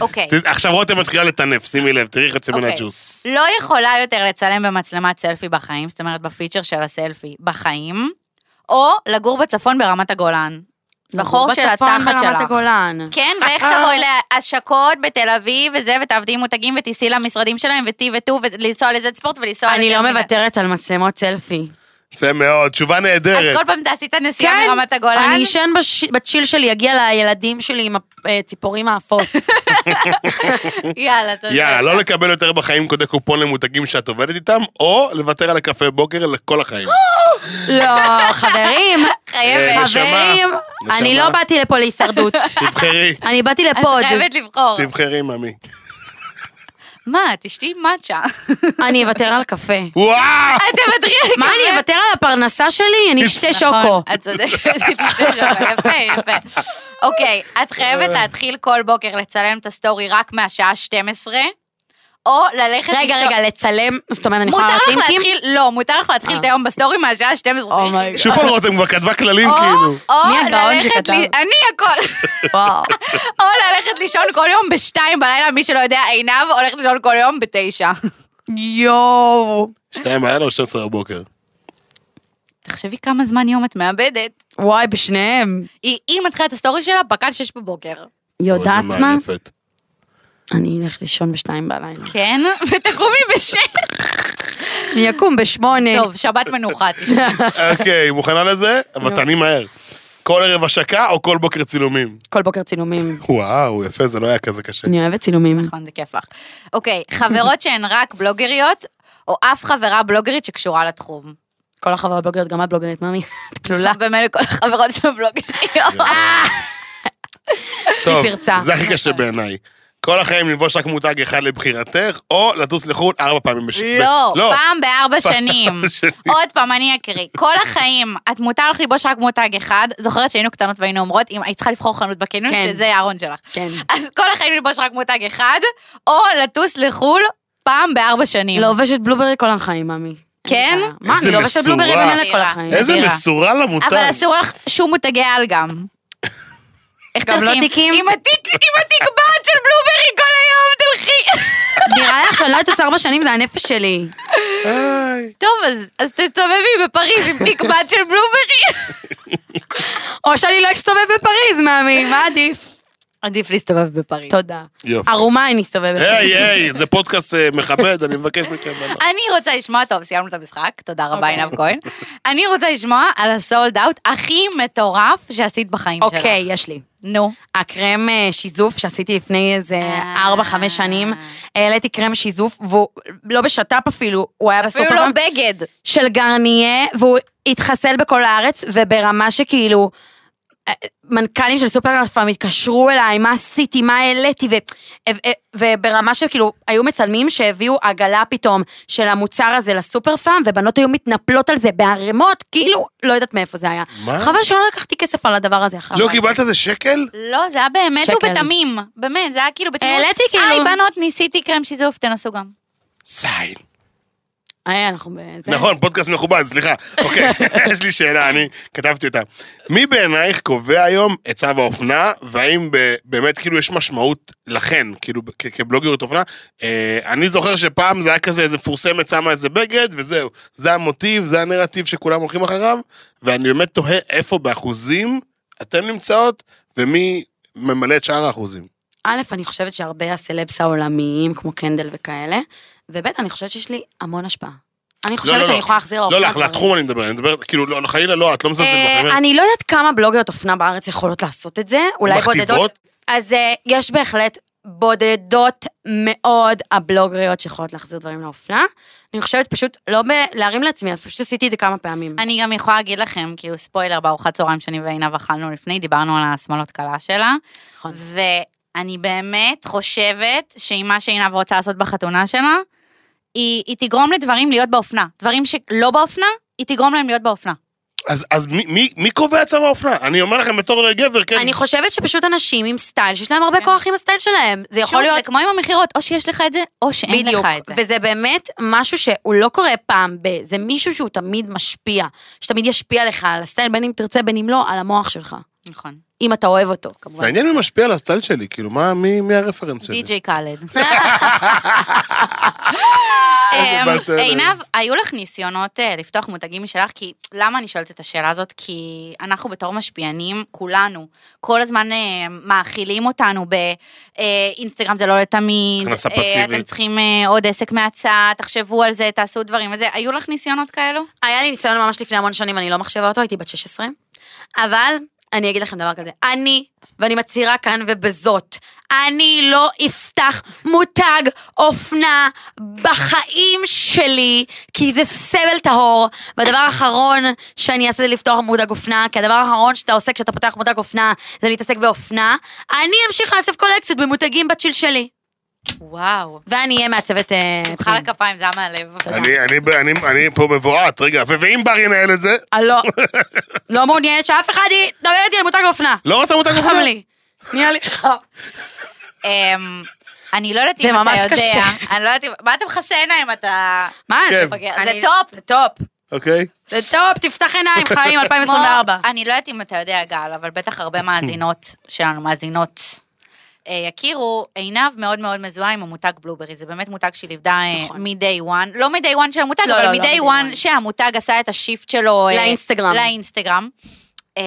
S4: אוקיי.
S2: ת- עכשיו רותם מתחילה לטנף, שימי לב, תראי איך יוצא מן
S4: אוקיי.
S2: הג'וס.
S4: לא יכולה יותר לצלם במצלמת סלפי בחיים, זאת אומרת בפיצ'ר של הסלפי בחיים, או לגור בצפון ברמת הגולן.
S3: נכון,
S4: בחור של התחת
S3: בצפון ברמת
S4: שלך.
S3: הגולן.
S4: כן, ואיך תבואי להשקות בתל אביב וזה, ותעבדי עם מותגים ותיסעי למשרדים שלהם, וטי וטו, ולנסוע לזד ספורט ולנסוע...
S3: אני
S4: לזה.
S3: לא מוותרת על מצלמות סלפי.
S2: יפה מאוד, תשובה
S4: אז
S2: נהדרת.
S4: כל פעם תעשי את הנסיעה מרמת הגולן.
S3: כן, אני אשן בש- בצ'יל שלי, אגיע לילדים שלי עם אה, הציפורים האפות.
S4: יאללה, תודה.
S2: יאללה, לא לקבל יותר בחיים קודי קופון למותגים שאת עובדת איתם, או לוותר על הקפה בוקר לכל החיים.
S3: <laughs> לא, חברים,
S4: <laughs> חייבת.
S2: אה, נשמה,
S3: חברים,
S2: נשמה.
S3: אני לא באתי
S4: <laughs>
S3: לפה להישרדות.
S2: <laughs> תבחרי,
S3: אני באתי
S4: את
S3: לפה עוד.
S4: חייבת לבחור.
S2: תבחרי, ממי.
S4: מה, תשתי מצ'ה.
S3: אני אוותר על
S4: <laughs>
S3: קפה.
S2: וואו!
S4: את תוותרי על
S3: מה,
S4: <laughs>
S3: אני אוותר על הפרנסה שלי? אני אשתה שוקו.
S4: נכון, את צודקת, <laughs> אני חושבת שזה יפה, יפה. אוקיי, את חייבת להתחיל כל בוקר לצלם את הסטורי רק מהשעה 12, או ללכת
S3: רגע,
S4: לישון-
S3: רגע, לצלם, זאת אומרת, אני יכולה
S4: מותר
S3: לראות
S4: לך
S3: לינקים?
S4: להתחיל, לא, מותר לך להתחיל את היום בסטורי מהשעה 12.
S3: אה. אומייגאד.
S4: <laughs>
S2: שוב פעם רותם כבר כתבה כללים
S4: או-
S2: כאילו.
S4: או
S3: מי הגאון
S4: ללכת,
S3: שכתב?
S4: לי- אני הכל, <laughs>
S3: וואו.
S4: או ללכת לישון כל יום בשתיים בלילה, מי שלא יודע, עינב הולכת לישון כל יום בתשע.
S3: יואו.
S2: שתיים בלילה או 12 בבוקר.
S4: תחשבי כמה זמן יום את מאבדת.
S3: וואי, בשניהם.
S4: היא היא מתחילה את הסטורי שלה, פקד שש בבוקר.
S3: יודעת
S2: אוי, זה
S3: מה?
S2: מעייפת.
S3: אני אלך לישון בשתיים בלילה.
S4: כן, <laughs> ותקומי בשש.
S3: אני אקום בשמונה.
S4: טוב, שבת מנוחה, תשמע.
S2: אוקיי, מוכנה לזה? אבל תעני מהר. כל ערב השקה או כל בוקר צילומים?
S3: כל בוקר צילומים.
S2: וואו, יפה, זה לא היה כזה קשה.
S3: אני אוהבת צילומים.
S4: נכון, זה כיף לך. אוקיי, חברות שהן רק בלוגריות, או אף חברה בלוגרית שקשורה לתחום.
S3: כל החברה בלוגרית, גם את בלוגרית, מאמי. את כלולה.
S4: <laughs> במילא כל החברות שלו בלוגריות.
S2: טוב,
S3: פרצה.
S2: זה הכי קשה
S4: נכון.
S2: בעיניי. כל החיים ללבוש רק מותג אחד לבחירתך, או לטוס לחו"ל ארבע פעמים בש...
S4: לא,
S2: ב- לא.
S4: פעם בארבע שנים.
S2: שנים.
S4: עוד פעם, אני אקריא. כל החיים, את מותר לך ללבוש רק מותג אחד. זוכרת שהיינו קטנות והיינו אומרות, אם היית צריכה לבחור חנות בקניון,
S3: כן.
S4: שזה הארון שלך.
S3: כן.
S4: אז כל החיים ללבוש רק מותג אחד, או לטוס לחו"ל פעם בארבע שנים.
S3: לא לובשת בלוברי כל החיים, מאמי.
S4: כן?
S3: מה,
S2: איזה
S3: אני לובשת
S2: מסורה.
S3: בלוברי במילא כל החיים.
S4: אה,
S2: איזה
S4: נדירה.
S2: מסורה למותג.
S4: אבל אסור לך שום מותגי על גם. איך
S3: גם לא
S4: תלכי עם-
S3: תיקים?
S4: עם התיק, עם התקבעת של בלוברי כל היום, תלכי.
S3: נראה לך שאני לא אטוס ארבע שנים, זה הנפש שלי.
S4: טוב, אז- אז תסתובבי בפריז עם תקבעת של בלוברי.
S3: או שאני לא אסתובב בפריז, מאמי, מה עדיף?
S4: עדיף להסתובב בפריז.
S3: תודה.
S2: יופי.
S3: ערומה אני אסתובבת.
S2: היי, היי, זה פודקאסט אה, מכבד, אני מבקש
S4: <laughs>
S2: מכם. אבל-
S4: אני רוצה לשמוע, טוב, סיימנו את המשחק, תודה רבה
S3: אוקיי.
S4: עינב כהן. אני רוצה לשמוע על הסולד אאוט הכי מטורף שעשית בחיים שלך.
S3: אוקיי, יש לי.
S4: נו.
S3: הקרם אה, שיזוף שעשיתי לפני איזה
S4: אה.
S3: 4-5 שנים, העליתי קרם שיזוף, והוא לא בשת"פ אפילו, הוא היה בסופר,
S4: אפילו לא בגד.
S3: של גרניה, והוא התחסל בכל הארץ, וברמה שכאילו, אה, מנכ"לים של סופר כבר התקשרו אליי, מה עשיתי, מה העליתי, ו, ו, וברמה שכאילו, היו מצלמים שהביאו עגלה פתאום של המוצר הזה לסופר פארם, ובנות היו מתנפלות על זה בערימות, כאילו, לא יודעת מאיפה זה היה.
S2: מה?
S3: חבל שלא לקחתי כסף על הדבר הזה אחר
S2: לא
S3: כך.
S2: קיבלת איזה שקל?
S4: לא, זה היה באמת
S3: שקל.
S4: ובתמים. באמת, זה היה כאילו בתמימות.
S3: העליתי כאילו-
S4: היי, בנות, ניסיתי קרם שיזוף, תנסו גם.
S2: זין.
S3: אה, אנחנו בזה.
S2: נכון, פודקאסט מכובד, סליחה.
S3: <laughs>
S2: אוקיי, <laughs> יש לי שאלה, אני כתבתי אותה. מי בעינייך קובע היום את צו האופנה, והאם ב- באמת כאילו יש משמעות לכן, כאילו כ- כבלוגרית אופנה? אה, אני זוכר שפעם זה היה כזה, איזה מפורסמת שמה איזה בגד, וזהו. זה המוטיב, זה הנרטיב שכולם הולכים אחריו, ואני באמת תוהה איפה באחוזים אתן נמצאות, ומי ממלא את שאר האחוזים.
S3: א', אני חושבת שהרבה הסלבס העולמיים, כמו קנדל וכאלה, וב', אני חושבת שיש לי המון השפעה. אני
S2: לא,
S3: חושבת
S2: לא.
S3: שאני יכולה להחזיר
S2: לא
S3: לאופנה.
S2: לך,
S3: דברים.
S2: לתחום אני מדבר, אני מדבר, כאילו, לא, חלילה לא, את לא מזלזלת.
S3: אוקיי.
S2: אני
S3: אה,
S2: אומר,
S3: אני לא יודעת כמה בלוגריות אופנה בארץ יכולות לעשות את זה, אולי
S2: מכתיבות?
S3: בודדות. אז אה, יש בהחלט בודדות מאוד הבלוגריות שיכולות להחזיר דברים לאופנה. אני חושבת פשוט לא ב- להרים לעצמי, אז פשוט עשיתי את זה כמה פעמים.
S4: אני גם יכולה להגיד לכם, כאילו, ספוילר, בארוחת צהריים שאני ועינב אכלנו לפני, דיברנו על השמאלות קלה שלה,
S3: נכון.
S4: ואני באמת חושבת שעם מה שעינב רוצה לעשות בחתונה שלה, היא, היא תגרום לדברים להיות באופנה. דברים שלא באופנה, היא תגרום להם להיות באופנה.
S2: אז, אז מי, מי, מי קובע צו האופנה? אני אומר לכם בתור גבר, כן.
S3: אני חושבת שפשוט אנשים עם סטייל, שיש להם הרבה
S4: כן.
S3: כוח עם הסטייל שלהם. זה
S4: שוב,
S3: יכול להיות
S4: זה כמו עם המכירות, או שיש לך את זה, או שאין
S3: בדיוק,
S4: לך את זה.
S3: וזה באמת משהו שהוא לא קורה פעם ב... זה מישהו שהוא תמיד משפיע, שתמיד ישפיע לך על הסטייל, בין אם תרצה, בין אם לא, על המוח שלך.
S4: נכון.
S3: אם אתה אוהב אותו, כמובן.
S2: מעניין מי משפיע על הסטייל שלי, כאילו, מה, מי, מי הרפרנס שלי?
S4: די.ג'יי קאלד.
S3: <laughs>
S2: איזה בת
S3: אה,
S2: אלה.
S4: אה, אמ, עינב, היו לך ניסיונות אה, לפתוח מותגים משלך? כי למה אני שואלת את השאלה הזאת? כי אנחנו בתור משפיענים, כולנו, כל הזמן אה, מאכילים אותנו באינסטגרם זה לא לתמיד.
S2: הכנסה
S4: אה,
S2: פסיבית.
S4: אתם צריכים אה, עוד עסק מהצד, תחשבו על זה, תעשו דברים וזה. היו לך ניסיונות כאלו?
S3: היה לי ניסיון ממש לפני המון שנים, אני לא מחשבה אותו, הייתי בת 16. אבל אני אגיד לכם דבר כזה, אני, ואני מצהירה כאן ובזאת, אני לא אפתח מותג אופנה בחיים שלי, כי זה סבל טהור, והדבר האחרון שאני אעשה זה לפתוח מותג אופנה, כי הדבר האחרון שאתה עושה כשאתה פותח מותג אופנה, זה להתעסק באופנה, אני אמשיך לעצב קולקציות במותגים בצ'יל שלי,
S4: וואו.
S3: ואני אהיה מעצבת... אה,
S4: בכלל
S3: פנים.
S4: הכפיים, זה היה מהלב.
S2: אני, אני, ב- אני, אני פה מבועת, רגע, ו- ואם בר ינהל את זה,
S3: אה, לא, לא מעוניינת שאף אחד ידבר איתי על מותג אופנה.
S2: לא רוצה מותג אופנה?
S3: חם לי.
S2: <laughs>
S3: נהיה לי אה, חם.
S4: אמ, אני לא יודעת
S3: זה
S4: אם אתה
S3: ממש
S4: יודע.
S3: קשה.
S4: אני לא יודעת אם... מה אתה מכסה עיניים? אתה...
S3: מה
S2: כן.
S3: זה?
S4: זה
S3: זה
S4: טופ.
S3: טופ. זה טופ.
S2: אוקיי.
S3: זה טופ, תפתח <laughs> עיניים, חיים, 2024.
S4: כמו- אני לא יודעת אם אתה יודע, גל, אבל בטח הרבה מאזינות שלנו, מאזינות, אה, יכירו, עינב מאוד מאוד מזוהה עם המותג בלוברי. זה באמת מותג שהיא ליבדה אה,
S3: נכון.
S4: מ-day one. לא מ-day one של המותג,
S3: לא,
S4: אבל
S3: לא, לא
S4: מ-day
S3: מ-day
S4: one
S3: one.
S4: שהמותג עשה את השיפט שלו... אה,
S3: לאינסטגרם.
S4: לאינסטגרם. אמ,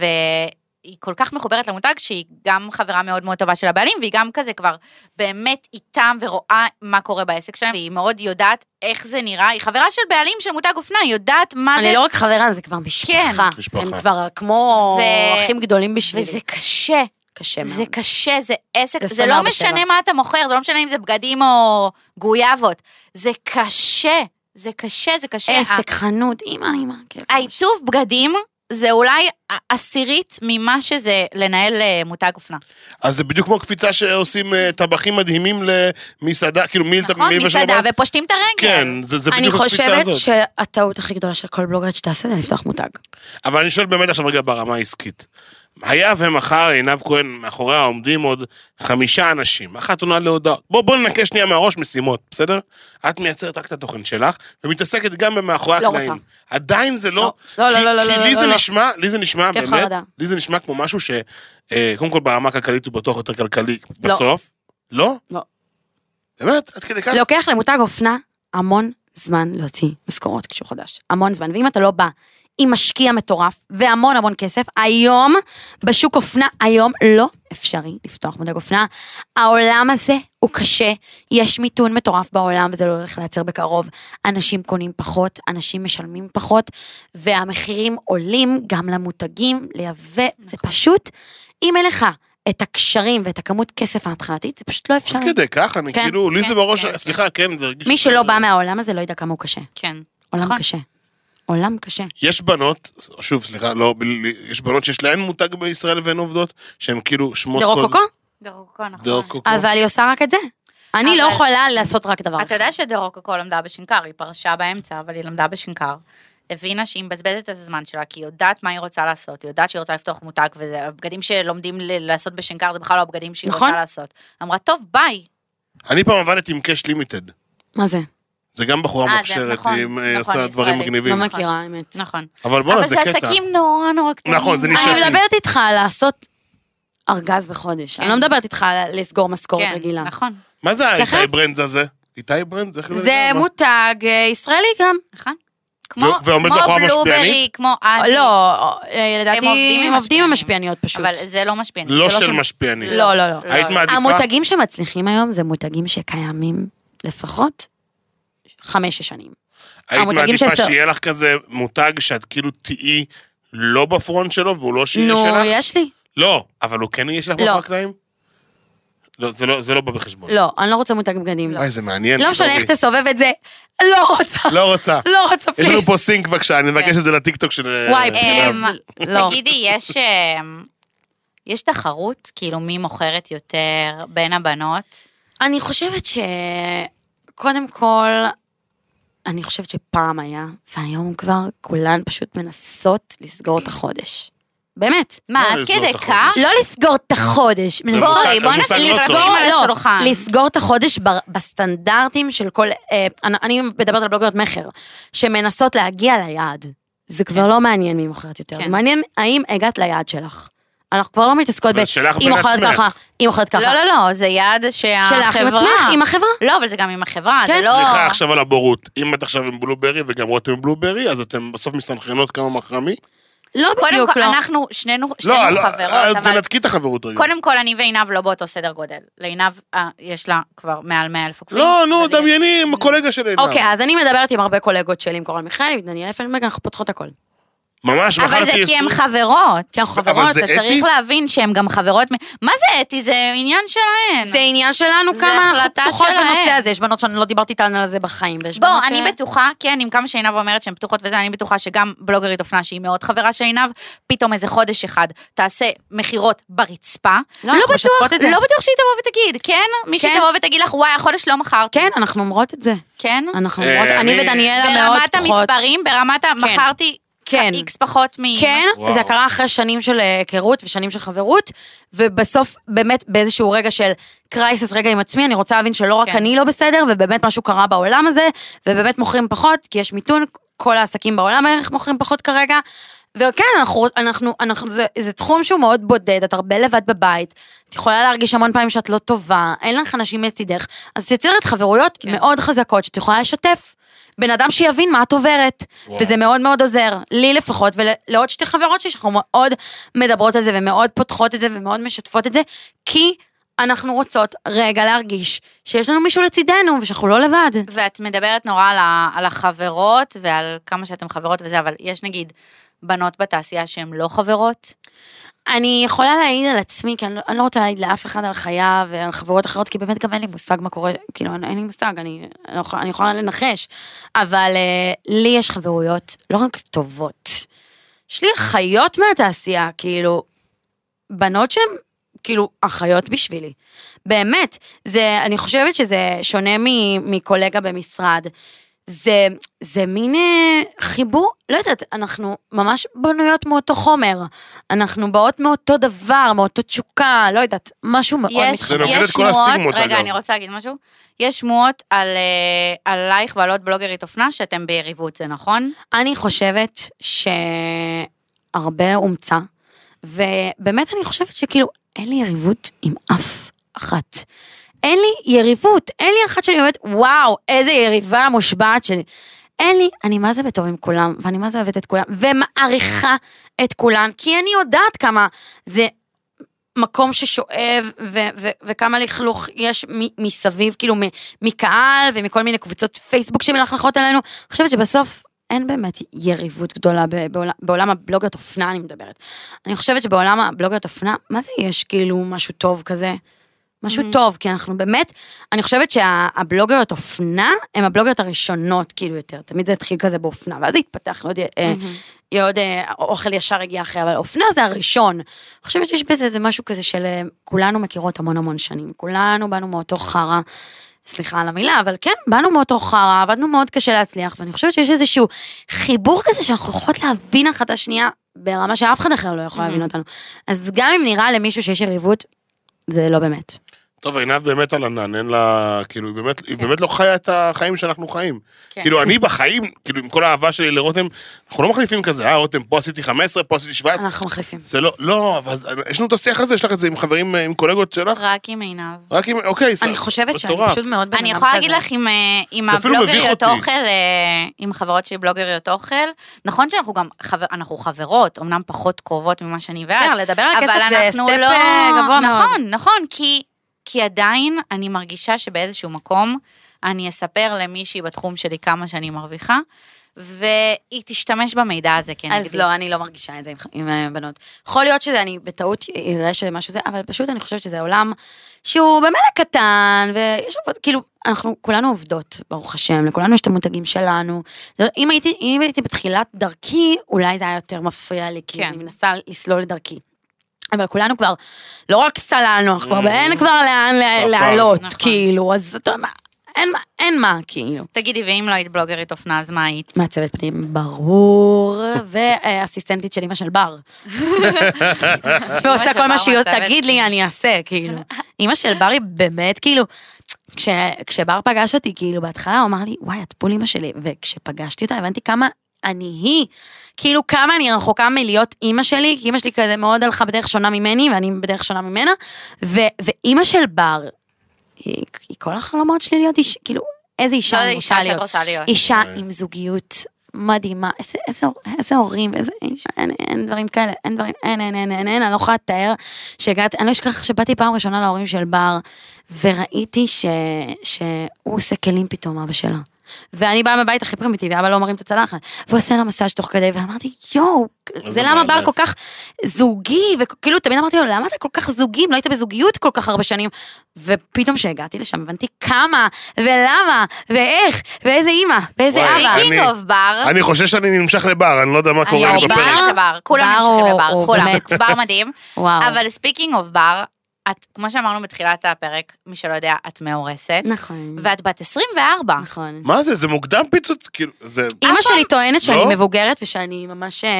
S4: והיא כל כך מחוברת למותג שהיא גם חברה מאוד מאוד טובה של הבעלים, והיא גם כזה כבר באמת איתם ורואה מה קורה בעסק שלהם, והיא מאוד יודעת איך זה נראה. היא חברה של בעלים של מותג אופנה, היא יודעת מה זה כן.
S3: אני לא רק חברה, זה כבר משפחה.
S2: משפחה.
S3: הם כבר כמו
S4: ו-
S3: אחים גדולים בשבילי.
S4: וזה קשה,
S3: קשה מאוד.
S4: זה קשה, זה עסק,
S3: זה
S4: זה
S3: סמר
S4: לא
S3: בשבע.
S4: משנה מה אתה מוכר, זה לא משנה אם זה בגדים או גויאבות, זה קשה, זה קשה, זה קשה.
S3: עסק, חנות, אימא, אימא. כן.
S4: ה- העיצוב בגדים זה אולי ע- עשירית ממה שזה לנהל אה, מותג אופנה.
S2: אז זה בדיוק כמו קפיצה שעושים אה, טבחים מדהימים למסעדה, כאילו מי...
S4: נכון,
S2: מי- מי-
S4: מסעדה ופושטים את הרגל.
S2: כן, זה, זה
S3: אני
S2: בדיוק הקפיצה
S3: חושבת
S2: הזאת. ש...
S3: שהטעות הכי גדולה של כל בלוגרית שתעשה זה לפתוח מותג.
S2: אבל אני שואל באמת עכשיו רגע ברמה העסקית. היה ומחר עינב כהן, מאחוריה עומדים עוד חמישה אנשים, אחת עונה להודעות. בוא, בוא ננקה שנייה מהראש משימות, בסדר? את מייצרת רק את התוכן שלך, ומתעסקת גם במאחורי
S3: לא
S2: הקלעים.
S3: רוצה.
S2: עדיין זה לא...
S3: לא, לא,
S2: כי-
S3: לא, לא,
S2: כי
S3: לא,
S2: לי
S3: לא,
S2: זה
S3: לא.
S2: נשמע, לי זה נשמע,
S3: התקף
S2: באמת,
S3: חרדה.
S2: לי זה נשמע כמו משהו ש... אה, קודם כל ברמה הכלכלית הוא בטוח יותר כלכלי
S3: לא.
S2: בסוף. לא?
S3: לא.
S2: באמת? עד כדי כך?
S3: לוקח למותג אופנה המון זמן להוציא משכורות כשהוא חדש. המון זמן. ואם אתה לא בא עם משקיע מטורף והמון המון כסף. היום, בשוק אופנה, היום לא אפשרי לפתוח מותג אופנה. העולם הזה הוא קשה, יש מיתון מטורף בעולם וזה לא הולך להיעצר בקרוב. אנשים קונים פחות, אנשים משלמים פחות, והמחירים עולים גם למותגים, לייבא, זה פשוט, אם אין לך את הקשרים ואת הכמות כסף ההתחלתית, זה פשוט לא
S2: עד
S3: אפשרי.
S2: כדי כך, אני
S3: כן,
S2: כאילו, לי
S4: כן,
S2: זה בראש,
S4: כן.
S2: סליחה, כן, זה הרגיש...
S3: מי שלא בא מהעולם הזה לא ידע כמה הוא קשה.
S4: כן.
S3: עולם
S4: נכון.
S3: קשה. עולם קשה.
S2: יש בנות, שוב, סליחה, לא, בלי- יש בנות שיש להן מותג בישראל והן עובדות, שהן כאילו שמות...
S3: זה רוקוקו,
S4: דרוקו, נכון.
S2: דרוקוקו.
S3: אבל היא עושה רק את זה. אני לא
S4: אבל-
S3: יכולה לעשות רק דבר
S4: אתה
S3: אחד.
S4: יודע שדרוקוקו למדה בשנקר, היא פרשה באמצע, אבל היא למדה בשנקר. הבינה שהיא מבזבזת את הזמן שלה, כי היא יודעת מה היא רוצה לעשות, היא יודעת שהיא רוצה לפתוח מותג, והבגדים שלומדים ל- לעשות בשנקר זה בכלל לא הבגדים שהיא
S3: נכון.
S4: רוצה לעשות. אמרה, טוב, ביי.
S2: אני פעם עבדתי עם קאש לימיטד.
S3: מה זה?
S2: זה גם בחורה
S4: אה, זה
S2: מוכשרת,
S4: נכון,
S2: היא אה,
S4: נכון,
S2: עושה דברים
S4: ישראלית.
S2: מגניבים.
S3: לא מכירה, האמת.
S4: נכון.
S2: אבל בואנה,
S4: אבל
S2: זה
S4: זה
S2: קטע.
S4: עסקים נורא נורא קטנים. לא-
S2: נכון, זה
S3: אני
S2: נשאר- נשארתי.
S3: מדברת איתך על לעשות ארגז בחודש. אני לא מדברת איתך על לסגור משכורת
S4: כן,
S3: רגילה.
S4: נכון,
S2: מה זה
S3: ככה?
S2: האיתי ברנדס הזה? איתי ברנדס? איך
S3: זה מותג אה, ישראלי גם.
S4: נכון. כמו
S2: ועומד
S4: כמו
S2: מאחוריו
S4: בלוברי,
S2: משפיענית?
S4: כמו את.
S3: לא, אה,
S4: הם
S3: לדעתי
S4: עובדים עם
S3: הם עובדים
S4: משפיענים.
S3: עם משפיעניות פשוט.
S4: אבל זה לא משפיען.
S2: לא
S4: זה
S2: של
S4: שם-
S2: משפיענים.
S3: לא, לא, לא.
S2: היית מעדיפה?
S3: המותגים שמצליחים היום זה מותגים שקיימים לפחות חמש-שש שנים.
S2: היית
S3: המותגים
S2: מעדיפה
S3: שעשו-
S2: שיהיה לך כזה מותג שאת כאילו תהיי לא בפרונט שלו והוא לא שיהיה
S3: נו,
S2: שלך?
S3: יש לי.
S2: לא, אבל הוא כן יהיה שלך
S3: לא.
S2: בברקליים? לא, זה לא- זה לא בא בחשבון.
S3: לא, אני לא רוצה מותג בגדים.
S2: וואי, אה, זה מעניין.
S3: לא משנה
S2: שלומי.
S3: איך תסובב את זה, לא רוצה.
S2: לא רוצה.
S3: לא רוצה,
S2: יש
S3: פליז.
S2: לנו פה סינק בבקשה, אני
S4: כן.
S2: מבקש את זה לטיקטוק של... אה,
S3: וואי, פליז.
S2: מירב.
S4: אמ,
S3: לא.
S4: תגידי, יש... אמ, יש תחרות? כאילו, מי מוכרת יותר בין הבנות?
S3: אני חושבת ש... קודם כל, אני חושבת שפעם היה, והיום כבר כולן פשוט מנסות לסגור את החודש. באמת.
S4: מה,
S2: לא,
S4: עד
S2: לסגור
S4: כדי
S2: את החודש.
S4: כך?
S3: לא לסגור את החודש. מנסות-
S2: מושג-
S4: בואי, בואי
S2: המושג
S4: נשים
S2: לא
S4: פרטים
S2: טוב.
S4: על
S3: לא,
S4: השולחן.
S3: לסגור את החודש ב- בסטנדרטים של כל... אה, אני- אני מדברת על בלוגריות מכר, שמנסות להגיע ליעד. זה כבר לא מעניין מי מוכרת יותר,
S4: כן.
S3: זה מעניין האם הגעת ליעד שלך. אנחנו כבר לא מתעסקות
S2: אבל
S3: ב...
S2: שלך
S3: היא
S2: בין
S3: מוכרת
S2: עצמך.
S3: ככה, היא מוכרת ככה.
S4: לא, לא, לא, זה יעד שהחברה...
S3: שלך עם עצמך, עם החברה.
S4: לא, אבל זה גם עם החברה, זה
S3: כן.
S4: לא...
S2: סליחה עכשיו על הבורות. אם את עכשיו עם בלוברי וגם רותם עם בלוברי, אז אתם בסוף מסנכרנות כמה מחרמי?
S3: לא
S4: קודם
S3: בדיוק,
S4: כל,
S3: לא.
S4: אנחנו שנינו שנינו
S2: לא, לא,
S4: חברות,
S2: אה,
S4: אבל
S2: תנתקי את החברות רגע.
S4: קודם כל, אני ועינב לא באותו סדר גודל. לעינב, אה, יש לה כבר מעל 100 אלף עוקבים.
S2: לא, נו,
S4: ולי-
S2: דמייני עם הקולגה של עינב.
S3: אוקיי, אז אני מדברת עם הרבה קולגות שלי, עם קורל מיכאלי, עם דניאל פלנברג, אנחנו פותחות הכל.
S2: לא. ממש,
S4: אבל
S2: מחר
S4: זה
S2: תהיה
S4: כי הן
S2: סוג-
S4: חברות.
S3: כי אנחנו
S2: אבל
S3: חברות,
S2: זה
S3: אתה
S2: אתי?
S3: צריך...
S4: צריך להבין שהן גם חברות... מ- מה זה אתי? זה עניין שלהן.
S3: זה עניין שלנו,
S4: כן. זה
S3: כמה אנחנו
S4: החלטה
S3: פתוחות
S4: שלהם.
S3: בנושא הזה. יש בנות שאני לא דיברתי איתן על זה בחיים, ויש בנות
S4: בוא, אני בטוחה, כן, עם כמה שעינב אומרת שהן פתוחות וזה, אני בטוחה שגם בלוגרית אופנה שהיא מאוד חברה של עינב, פתאום איזה חודש אחד תעשה מכירות ברצפה.
S3: לא, אנחנו
S4: בטוח,
S3: משתפות את זה.
S4: לא בטוח שהיא תבוא ותגיד, כן? מישהי
S3: כן.
S4: תבוא ותגיד לך, וואי, החודש לא מכרתי.
S3: כן, אנחנו אומרות את זה.
S4: כן?
S3: אנחנו
S2: אה,
S3: אומרות, אני
S2: אני-
S3: ודניאלה מאוד
S4: ברמת
S3: פתוחות.
S4: המספרים, ברמת ה... מכרתי
S3: כן.
S4: איקס פחות מ...
S3: כן,
S2: וואו.
S3: זה קרה אחרי שנים של אה, היכרות ושנים של חברות, ובסוף באמת באיזשהו רגע של קרייסס רגע עם עצמי, אני רוצה להבין שלא רק
S4: כן.
S3: אני לא בסדר, ובאמת משהו קרה בעולם הזה, ובאמת מוכרים פחות, כי יש מיתון, כל העסקים בעולם בערך מוכרים פחות כרגע. וכן, אנחנו, אנחנו, אנחנו זה, זה תחום שהוא מאוד בודד, את הרבה לבד בבית, את יכולה להרגיש המון פעמים שאת לא טובה, אין לך אנשים לצידך, אז את יוצרת חברויות כן. מאוד חזקות שאת יכולה לשתף. בן אדם שיבין מה את עוברת,
S2: וואו.
S3: וזה מאוד מאוד עוזר, לי לפחות, ולעוד שתי חברות שלי, שאנחנו מאוד מדברות על זה, ומאוד פותחות את זה, ומאוד משתפות את זה, כי אנחנו רוצות רגע להרגיש שיש לנו מישהו לצידנו, ושאנחנו לא לבד.
S4: ואת מדברת נורא על, ה, על החברות ועל כמה שאתן חברות וזה, אבל יש נגיד בנות בתעשייה שהן לא חברות?
S3: אני יכולה להעיד על עצמי, כי אני לא, אני לא רוצה להעיד לאף אחד על חייו ועל חברות אחרות, כי באמת גם אין לי מושג מה קורה, כאילו, אין, אין לי מושג, אני, אני, לא יכולה, אני יכולה לנחש, אבל אה, לי יש חברויות לא רק טובות. יש לי אחיות מהתעשייה, כאילו, בנות שהן כאילו אחיות בשבילי. באמת, זה, אני חושבת שזה שונה מ, מקולגה במשרד. זה, זה מין אה, חיבור, לא יודעת, אנחנו ממש בנויות מאותו חומר. אנחנו באות מאותו דבר, מאותו תשוקה, לא יודעת, משהו מאוד
S4: יש,
S2: זה
S3: מתחבר.
S2: נוגד את
S4: יש
S2: כל הסטיגמות,
S4: שמועות,
S2: אגב.
S4: רגע, אני רוצה להגיד משהו. יש שמועות על, אה, עלייך ועל עוד בלוגרית אופנה שאתם ביריבות, זה נכון?
S3: אני חושבת שהרבה אומצה, ובאמת אני חושבת שכאילו, אין לי יריבות עם אף אחת. אין לי יריבות, אין לי אחת שאני אומרת, וואו, איזה יריבה מושבעת שלי. אין לי, אני מה זה בטוב עם כולם, ואני מה זה אוהבת את כולם, ומעריכה את כולן, כי אני יודעת כמה זה מקום ששואב, ו- ו- וכמה לכלוך יש מ- מסביב, כאילו מ- מקהל ומכל מיני קבוצות פייסבוק שמלכלכות עלינו. אני חושבת שבסוף אין באמת יריבות גדולה ב- בעולם, בעולם הבלוגיות אופנה, אני מדברת. אני חושבת שבעולם הבלוגיות אופנה, מה זה יש כאילו משהו טוב כזה? משהו
S4: Mhm.
S3: טוב, כי אנחנו באמת, אני חושבת שהבלוגריות אופנה, הן הבלוגריות הראשונות כאילו יותר, תמיד זה התחיל כזה באופנה, ואז זה התפתח לעוד אה, יהיה עוד אה, אוכל ישר הגיע אחרי, אבל אופנה זה הראשון. אני חושבת שיש בזה איזה משהו כזה של אה, כולנו מכירות המון המון שנים, כולנו באנו מאותו חרא, סליחה על המילה, אבל כן, באנו מאותו חרא, עבדנו מאוד קשה להצליח, ואני חושבת שיש איזשהו חיבור כזה שאנחנו יכולות להבין אחת את השנייה ברמה שאף אחד אחר לא יכול להבין
S4: Mhm.
S3: אותנו. אז גם אם נראה למישהו שיש יריבות, זה לא באמת.
S2: טוב, עינב באמת על ענן, אין לה, כאילו, היא באמת, היא באמת לא חיה את החיים שאנחנו חיים.
S4: כן.
S2: כאילו, אני בחיים, כאילו, עם כל האהבה שלי לרותם, אנחנו לא מחליפים כזה, אה, רותם, פה עשיתי 15, פה עשיתי 17.
S4: אה.
S3: אנחנו מחליפים.
S2: זה לא, לא, אבל אז- יש לנו את השיח הזה, יש לך את זה עם חברים, אה, עם קולגות שלך?
S4: רק עם עינב.
S2: רק עם, אוקיי, זה
S3: אני חושבת שאני
S2: מטורף.
S3: פשוט מאוד בן אדם כזה.
S4: אני יכולה להגיד לך עם, אה, עם
S2: זה אפילו מביך
S4: הבלוגריות
S2: אותי.
S4: אוכל, אה, עם חברות שלי בלוגריות אוכל, נכון שאנחנו גם, חבר- אנחנו חברות, אמנם פחות קרובות ממה שאני ואת,
S3: בסדר, לדבר על כסף
S4: אבל
S3: זה
S4: אנחנו
S3: סטפ
S4: לא...
S3: אה, גבוה מאוד.
S4: נכון, נכון, כי, כי עדיין אני מרגישה שבאיזשהו מקום אני אספר למישהי בתחום שלי כמה שאני מרוויחה, והיא תשתמש במידע הזה כן, כנגדי.
S3: אז לא, אני לא מרגישה את זה עם, ח- עם אה, בנות. יכול להיות שזה, אני בטעות אראה שמשהו זה, אבל פשוט אני חושבת שזה עולם שהוא במילא קטן, ויש עבוד, כאילו, אנחנו כולנו עובדות, ברוך השם, לכולנו יש את המותגים שלנו. זה, אם, הייתי, אם הייתי בתחילת דרכי, אולי זה היה יותר מפריע לי, כי
S4: כן.
S3: אני מנסה לסלול לדרכי. אבל כולנו כבר, לא רק סללנו, אנחנו כבר, אין כבר לאן לה-
S2: נכון.
S3: לעלות,
S4: נכון.
S3: כאילו, אז אתה מה, אין מה, אין מה, כאילו.
S4: תגידי, ואם לא היית בלוגרית אופנה, אז מה היית?
S3: מעצבת פנים, ברור, ואסיסטנטית של אמא של
S4: <laughs>
S3: בר. ועושה
S4: של
S3: כל
S4: בר
S3: מה שהיא עושה,
S4: מעצבת
S3: תגיד לי,
S4: פנים.
S3: אני אעשה, כאילו. אמא של בר היא באמת, כאילו, כש, כשבר פגש אותי, כאילו, בהתחלה הוא אמר לי, וואי, את בול אמא שלי, וכשפגשתי אותה הבנתי כמה אני היא, כאילו, כמה אני רחוקה מלהיות אימא שלי, כי אימא שלי כזה מאוד הלכה בדרך שונה ממני, ואני בדרך שונה ממנה, ו, ואימא של בר, היא, היא כל החלומות שלי להיות איש, כאילו, איזה
S4: זו
S3: אישה אני
S4: לא, אישה
S3: רוצה
S4: שאת
S3: להיות.
S4: רוצה להיות.
S3: אישה
S2: אוקיי.
S3: עם זוגיות מדהימה, איזה, איזה, הור- איזה הורים, איזה, אין, אין דברים כאלה, אין דברים, אין, אין, אין, אין, אין, אני לא יכולה לתאר שהגעתי, אני לא אשכח שבאתי פעם ראשונה להורים של בר, וראיתי ש, שהוא עושה כלים פתאום, אבא שלה. ואני באה מהבית הכי פרימיטיבי, אבא לא מרים את הצלחת, והוא עושה לה מסאז' תוך כדי, ואמרתי, יואו, זה
S2: זה
S3: למה בר
S2: מעניין.
S3: כל כך זוגי, וכאילו תמיד אמרתי לו, למה אתה כל כך זוגי, אם לא היית בזוגיות כל כך הרבה שנים, ופתאום כשהגעתי לשם הבנתי כמה, ולמה, ואיך, ואיזה אימא, ואיזה
S2: וואי,
S3: אבא.
S2: אני-
S4: ספיקינג אוף בר.
S2: אני חושב שאני נמשך לבר, אני לא יודע מה
S4: אני
S2: קורה לי
S3: בר-
S2: בפרק.
S4: נמשכת לבר, כולם
S3: בר
S4: נמשכים
S3: הוא-
S4: לבר,
S3: הוא
S4: כולם,
S3: באמת.
S4: בר מדהים.
S3: וואו.
S4: אבל ספיקינג אוף בר, את, כמו שאמרנו בתחילת הפרק, מי שלא יודע, את מאורסת,
S3: נכון.
S4: ואת בת 24.
S3: נכון.
S2: מה זה, זה מוקדם פיצוץ? כאילו, זה...
S3: אימא שלי טוענת שאני
S2: לא?
S3: מבוגרת ושאני ממש... אה,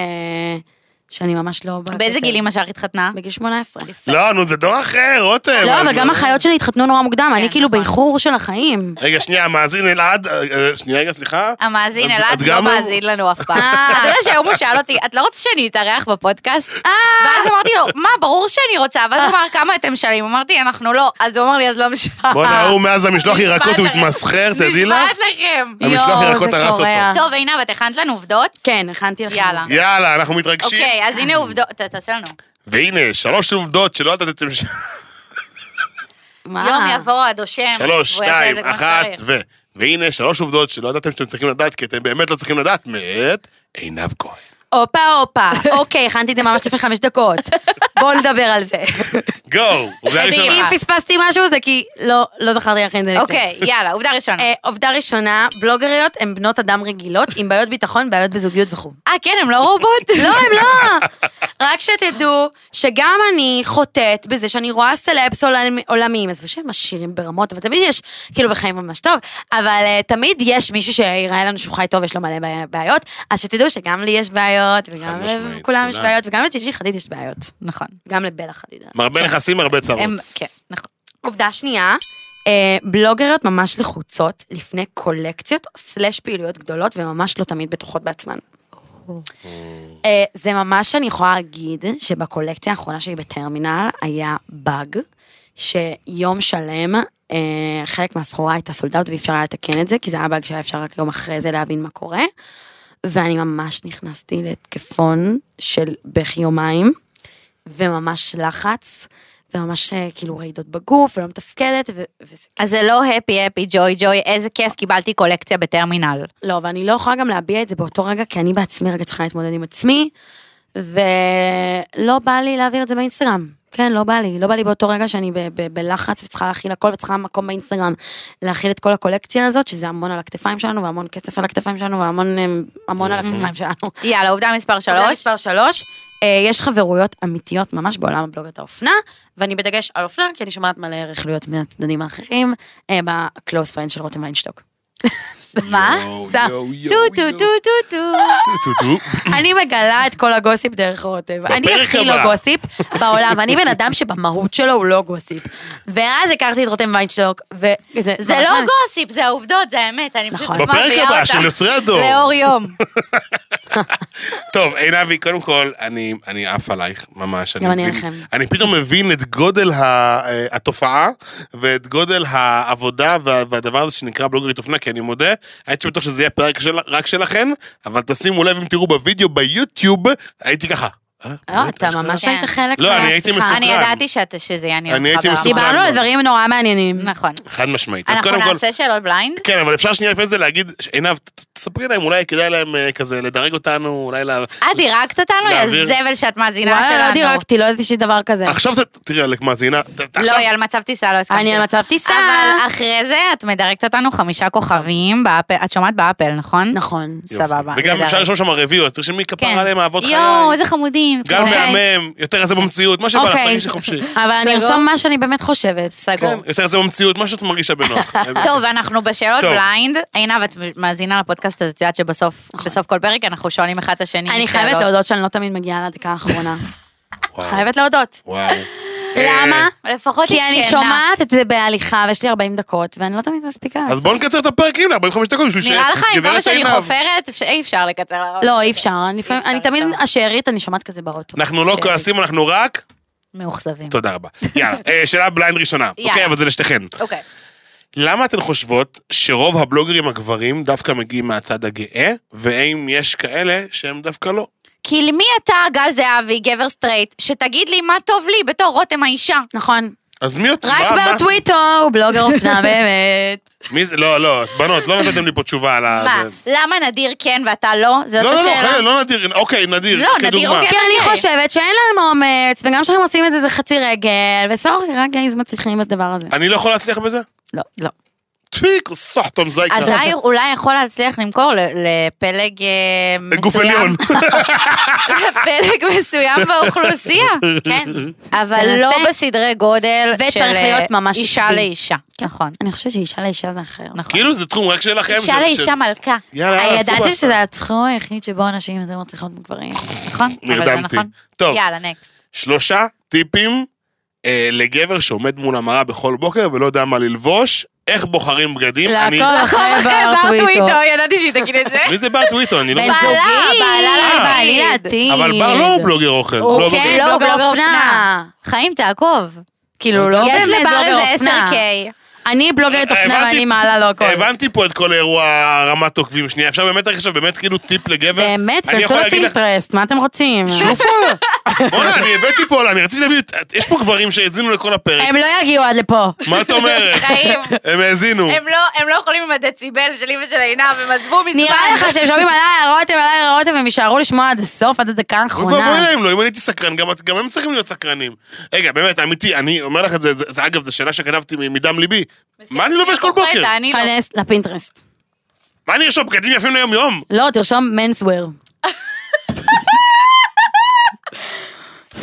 S3: שאני ממש לא... בת
S4: באיזה
S3: עשר.
S4: גיל אימא שלך התחתנה?
S3: בגיל 18.
S2: לא, נו, זה דור אחר, רותם.
S3: לא, אבל
S2: אני-
S3: גם החיות שלי התחתנו נורא מוקדם, אני
S4: כן,
S3: כאילו
S4: נכון.
S3: באיחור של החיים.
S2: רגע, שנייה, המאזין אלעד, אה, אה, שנייה, רגע, סליחה.
S4: המאזין
S2: את-
S4: אלעד
S2: את
S4: לא
S2: גם-
S4: מאזין לנו אף פעם.
S3: אה.
S4: אתה יודע שהיום הוא שאל אותי, את לא רוצה שאני אתארח בפודקאסט? ואז אמרתי לו, מה, ברור שאני רוצה, ואז הוא אמר,
S3: אה.
S4: כמה אתם משלמים? אמרתי, אנחנו לא. אז הוא אמר לי, אז לא משלם.
S2: בואנה, הוא מאז המשלוח ירקות, הוא
S4: נשבעת לכם.
S2: התמסחר, תדעי לך. אה.
S4: נשבעת לכם.
S2: המשלוח
S3: יואו,
S2: ירקות
S3: זה
S2: הרס
S3: קורע.
S2: אותו.
S4: טוב, עינב, את הכנת לנו עובדות?
S3: כן, הכנתי לכם.
S4: יאללה.
S2: יאללה, אנחנו מתרגשים.
S4: אוקיי, אז הנה עובדות, ת- תעשה לנו.
S2: והנה, שלוש עובדות שלא ידעתם... ש-
S3: מה?
S4: יום יבוא עד השם.
S2: <laughs> שלוש,
S4: והוא כן, יעשה
S2: שתיים,
S4: את זה כמו
S2: אחת,
S4: שצריך.
S2: ו... והנה, שלוש עובדות שלא ידעתם שאתם צריכים לדעת, כי אתם באמת לא צריכים לדעת, מאת עינב כהן.
S3: הופה הופה, אוקיי, הכנתי את זה ממש לפני חמש דקות. בואו נדבר על זה.
S2: גו! עובדה
S4: קדימה.
S2: ראשונה.
S3: אם פספסתי משהו זה כי לא, לא זכרתי להכין את זה
S2: <laughs>
S3: לפני.
S4: אוקיי, יאללה, עובדה ראשונה.
S3: אה, עובדה ראשונה, בלוגריות הן בנות אדם רגילות עם בעיות ביטחון, בעיות בזוגיות וכו'.
S4: אה, כן, הם לא רובוט?
S3: <laughs> לא, הם לא. רק שתדעו שגם אני חוטאת בזה שאני רואה סלבס עולם- עולמיים, עזבו שהם עשירים ברמות, אבל תמיד יש, כאילו, וחיים ממש טוב, אבל אה, תמיד יש מישהו שיראה לנו שהוא חי טוב, יש לו מלא בעי- בעיות, אז שתדעו שגם לי יש בעיות, וגם
S2: חד משמעית,
S3: לכולם יש
S2: כולם.
S3: בעיות, וגם לג'יג'י חדיד יש בעיות.
S4: נכון.
S3: גם לבלה חדיד.
S2: מרבה נכסים, הרבה צרות.
S4: הם, כן, נכון.
S3: עובדה שנייה, אה, בלוגריות ממש לחוצות לפני קולקציות סלש פעילויות גדולות וממש לא תמיד בטוחות בעצמן. אה, זה ממש אני יכולה להגיד שבקולקציה האחרונה שלי בטרמינל היה באג, שיום שלם אה, חלק מהסחורה הייתה סולד אאוט ואי אפשר היה לתקן את זה, כי זה היה באג שהיה אפשר רק יום אחרי זה להבין מה קורה. ואני ממש נכנסתי להתקפון של בכי יומיים, וממש לחץ, וממש אה, כאילו רעידות בגוף, ולא מתפקדת, ו- וזה
S4: אז זה לא הפי הפי ג'וי ג'וי, איזה כיף, קיבלתי קולקציה בטרמינל.
S3: לא, ואני לא יכולה גם להביע את זה באותו רגע, כי אני בעצמי רגע צריכה להתמודד עם עצמי, ולא בא לי להעביר את זה באינסטגרם. כן, לא בא לי. לא בא לי באותו רגע שאני ב- ב- בלחץ וצריכה להכיל הכל וצריכה מקום באינסטגרם להכיל את כל הקולקציה הזאת, שזה המון על הכתפיים שלנו, והמון כסף על הכתפיים שלנו, והמון אמ, המון על הכתפיים שלנו.
S4: יאללה, עובדה מספר
S3: עובדה
S4: שלוש.
S3: מספר אוקיי, שלוש, אה, יש חברויות אמיתיות ממש בעולם הבלוגת האופנה, ואני בדגש על אופנה, כי אני שומעת מלא רכילויות מהצדדים האחרים, אה, בקלוס פרנד של רותם ויינשטוק. מה?
S2: אה? יואו,
S3: סתם.
S2: יואו, יואו,
S3: טו טו
S2: יואו.
S3: טו טו טו.
S2: טו, טו, טו.
S3: אני מגלה את כל הגוסיפ דרך רותם. אני
S2: בפרק
S3: הכי
S2: הבא.
S3: לא גוסיפ בעולם. אני בן אדם שבמהות שלו הוא לא גוסיפ. ואז הכרתי את רותם ויינשטוק, וזה...
S4: זה
S3: ממש
S4: לא
S3: מעניין.
S4: גוסיפ, זה העובדות, זה האמת, אני פשוט
S3: נכון.
S2: בפרק
S4: מחביאה
S2: הבא
S4: אותה.
S2: של יוצרי הדור. <laughs>
S4: לאור יום.
S2: טוב, עינבי, קודם כל, אני, אני עף עלייך, ממש.
S3: גם אני
S2: מבין-
S3: עליכם.
S2: אני פתאום מבין את גודל ה, אה, התופעה ואת גודל העבודה וה, והדבר הזה שנקרא בלוגרית אופנה, כי אני מודה, הייתי בטוח שזה יהיה פרק של, רק שלכן, אבל תשימו לב, אם תראו בווידאו ביוטיוב, הייתי ככה. אה,
S3: לא,
S2: באמת?
S3: אתה ממש
S4: כן.
S3: היית חלק
S2: לא, אני הייתי
S3: מהשיחה.
S2: מסוכן.
S4: אני ידעתי שאת- שזה יעניין
S2: אני
S4: אותך
S2: הייתי
S4: ברמה.
S2: מסוכן.
S3: דיברנו על
S2: מאוד.
S3: דברים נורא מעניינים.
S4: נכון.
S2: חד משמעית. אז
S4: אנחנו
S2: קודם כל,
S4: נעשה שאלות בליינד?
S2: כן, אבל אפשר שנייה לפני זה להגיד, ש- עינב, ת- ת- תספרי להם, אולי כדאי להם אה, כזה לדרג אותנו, אולי לה...
S4: את אה, דירקת אותנו, יא
S2: להעביר-
S4: זבל שאת מאזינה שלנו.
S3: וואלה, לא דירקתי, לא ידעתי שיש דבר כזה.
S2: עכשיו ת- תראי, עלק מאזינה, ת- ת-
S4: לא,
S2: עכשיו-
S4: היא על מצב טיסה, לא הסכמתי.
S3: אני
S4: לה.
S3: על מצב טיסה.
S4: אבל אחרי זה את מדרגת אותנו חמישה כוכבים באפל, את שומעת באפל, נכון?
S3: נכון.
S2: יופי.
S4: סבבה,
S2: וגם
S4: נהדר.
S2: אפשר לרשום שם רביו, אז תרשמי כפרה
S4: כן.
S2: עליהם אהבות חיי.
S4: יואו, איזה חמודים.
S2: גם
S4: אוקיי.
S2: מהמם, יותר זה במציאות, מה שבא לך,
S3: אוקיי.
S2: תרגישי
S4: <laughs>
S2: חופשי.
S3: אבל אני
S4: סגור?
S3: ארשום מה שאני באמת חושבת.
S4: סגור.
S2: כן, יותר זה במציאות, מה שאת מרגישה
S4: <laughs>
S2: בנוח.
S4: טוב, אנחנו בשאלות
S2: טוב.
S4: בליינד. עינב, את מאזינה לפודקאסט, אז את יודעת שבסוף בסוף כל פרק אנחנו שואלים אחד את השני
S3: נכון. אני
S4: שאלות.
S3: חייבת להודות שאני לא תמיד מגיעה לדקה האחרונה.
S2: כן, וואו,
S3: חייבת
S4: <laughs>
S3: להודות.
S2: וואו.
S3: למה?
S4: לפחות
S3: כי
S4: היא כן, אה?
S3: אני
S4: כנה.
S3: שומעת את זה בהליכה, ויש לי 40 דקות, ואני לא תמיד מספיקה.
S2: אה, אז בואו נקצר את הפרקים ל-45 דקות בשביל
S4: נראה לך, עם
S2: שגברת
S4: כמה שאני
S2: עינב-
S4: חופרת, אפשר- אי אפשר לקצר. לה.
S3: לא, אי אפשר, אני לפעמים-
S4: אפשר,
S3: אני תמיד,
S4: אפשר.
S3: השארית, אני שומעת כזה באוטו.
S2: אנחנו לא
S3: שארית.
S2: כועסים, אנחנו רק...
S4: מאוכזבים.
S2: תודה רבה. יאללה, אה, שאלה בליינד ראשונה.
S4: יאללה.
S2: אוקיי, אבל זה לשתיכן.
S4: אוקיי.
S2: למה אתן חושבות שרוב הבלוגרים הגברים דווקא מגיעים מהצד הגאה, ואם יש כאלה שהם דווקא לא?
S4: כי למי אתה, גל זהבי, גבר סטרייט, שתגיד לי מה טוב לי בתור רותם האישה?
S3: נכון.
S2: אז מי את...
S3: רק
S2: מה- מה-
S3: ברטוויטו, הוא בלוגר
S2: <laughs>
S3: אופנה, באמת.
S2: מי זה? לא, לא, בנות, לא נתתם לי פה תשובה על ה...
S4: מה,
S2: זה.
S4: למה נדיר כן ואתה לא? זאת
S2: לא, לא, לא,
S4: השאלה.
S2: חלילה, לא נדיר, אוקיי, נדיר,
S4: לא, נדיר,
S2: כדוגמה.
S4: אוקיי.
S3: כי אני
S4: מעניין.
S3: חושבת שאין להם אומץ, וגם כשהם עושים את זה זה חצי רגל, וסורי, רק גייז מצליחים בדבר הזה.
S2: אני לא יכול להצליח בזה?
S3: לא, לא.
S2: טפיק, סחטום זייקה.
S4: אתה
S2: <laughs>
S4: אולי יכול להצליח למכור ל- לפלג אה, מסוים.
S2: גוף עליון. <laughs>
S4: לפלג מסוים באוכלוסייה. כן. אבל
S3: תנסה.
S4: לא בסדרי גודל
S3: וצריך
S4: של אה,
S3: להיות ממש
S4: אישה
S3: עקבי.
S4: לאישה. נכון.
S3: אני חושבת שאישה לאישה זה אחר.
S4: נכון.
S2: כאילו כן. זה תחום רק שלכם.
S4: אישה
S2: ש-
S4: לאישה אה,
S2: ש-
S4: מלכה.
S2: יאללה, יאללה,
S3: ידעתם
S2: סופר.
S3: שזה התחום היחיד שבו נשים יותר מצליחות מגברים.
S4: נכון? אבל זה
S2: נרדמתי.
S4: נכון.
S2: טוב,
S4: יאללה, נקסט.
S2: שלושה טיפים אה, לגבר שעומד מול המראה בכל בוקר ולא יודע מה ללבוש, איך בוחרים בגדים.
S4: לא,
S2: אני-
S3: לעקוב אחרי בר טוויטו.
S4: ידעתי שהיא תגיד
S2: <laughs>
S4: את זה.
S2: מי זה בר טוויטו? אני לא...
S3: בן
S2: מבין.
S4: זוג.
S3: זוגי,
S4: בעלה
S3: בעלי
S4: לעתיד.
S3: לעתיד.
S2: אה, אבל בר לא הוא בלוגר אוכל.
S3: הוא
S2: לא,
S3: כן
S2: בלוגר.
S3: לא
S4: בלוגר
S3: בלוגר אופנה.
S4: אופנה. חיים, תעקוב.
S3: כאילו, לא
S4: יש
S3: באמת
S4: לבר
S3: בלוגר
S4: איזה
S3: אופנה.
S4: 10K.
S3: אני
S4: לא,
S3: בלוגרת אופנה
S2: אה, הבנתי-
S3: ואני מעלה לו הכל.
S2: הבנתי פה את כל האירוע רמת עוקבים שנייה. אפשר באמת עכשיו באמת כאילו טיפ לגבר?
S3: באמת,
S2: אני
S3: כנסו
S2: יכול להגיד לך-
S3: לפינטרסט, מה אתם רוצים?
S2: שלופה. בואנה, אני הבאתי פה, אני רציתי להביא, את- יש פה גברים שהאזינו לכל הפרק.
S3: הם לא יגיעו עד לפה.
S2: מה את אומרת?
S4: חיים.
S2: הם האזינו.
S4: הם לא- הם לא יכולים עם הדציבל שלי ושל עינב, הם עזבו מזמן.
S3: <laughs> נראה לך שהם שומעים עליי רותם, עליי רותם, הם יישארו לשמוע עד הסוף, עד הדקה
S2: אוי ואבוי
S3: האחרונה.
S2: להם, לא, אם אני הייתי סקרן, גם גם הם צריכים להיות סקרנים. רגע, באמת, אמיתי, אני אומר לך את זה, זה- זה אגב, זו שאלה שכתבתי מ- מדם ליבי. מה אני לובש כל בוקר?
S4: אני לא.
S3: כנס לפינטרסט.
S2: מה אני ארשום? בגדים יפים ליום-יום?
S3: לא, תרשום מנסוור.
S2: <laughs>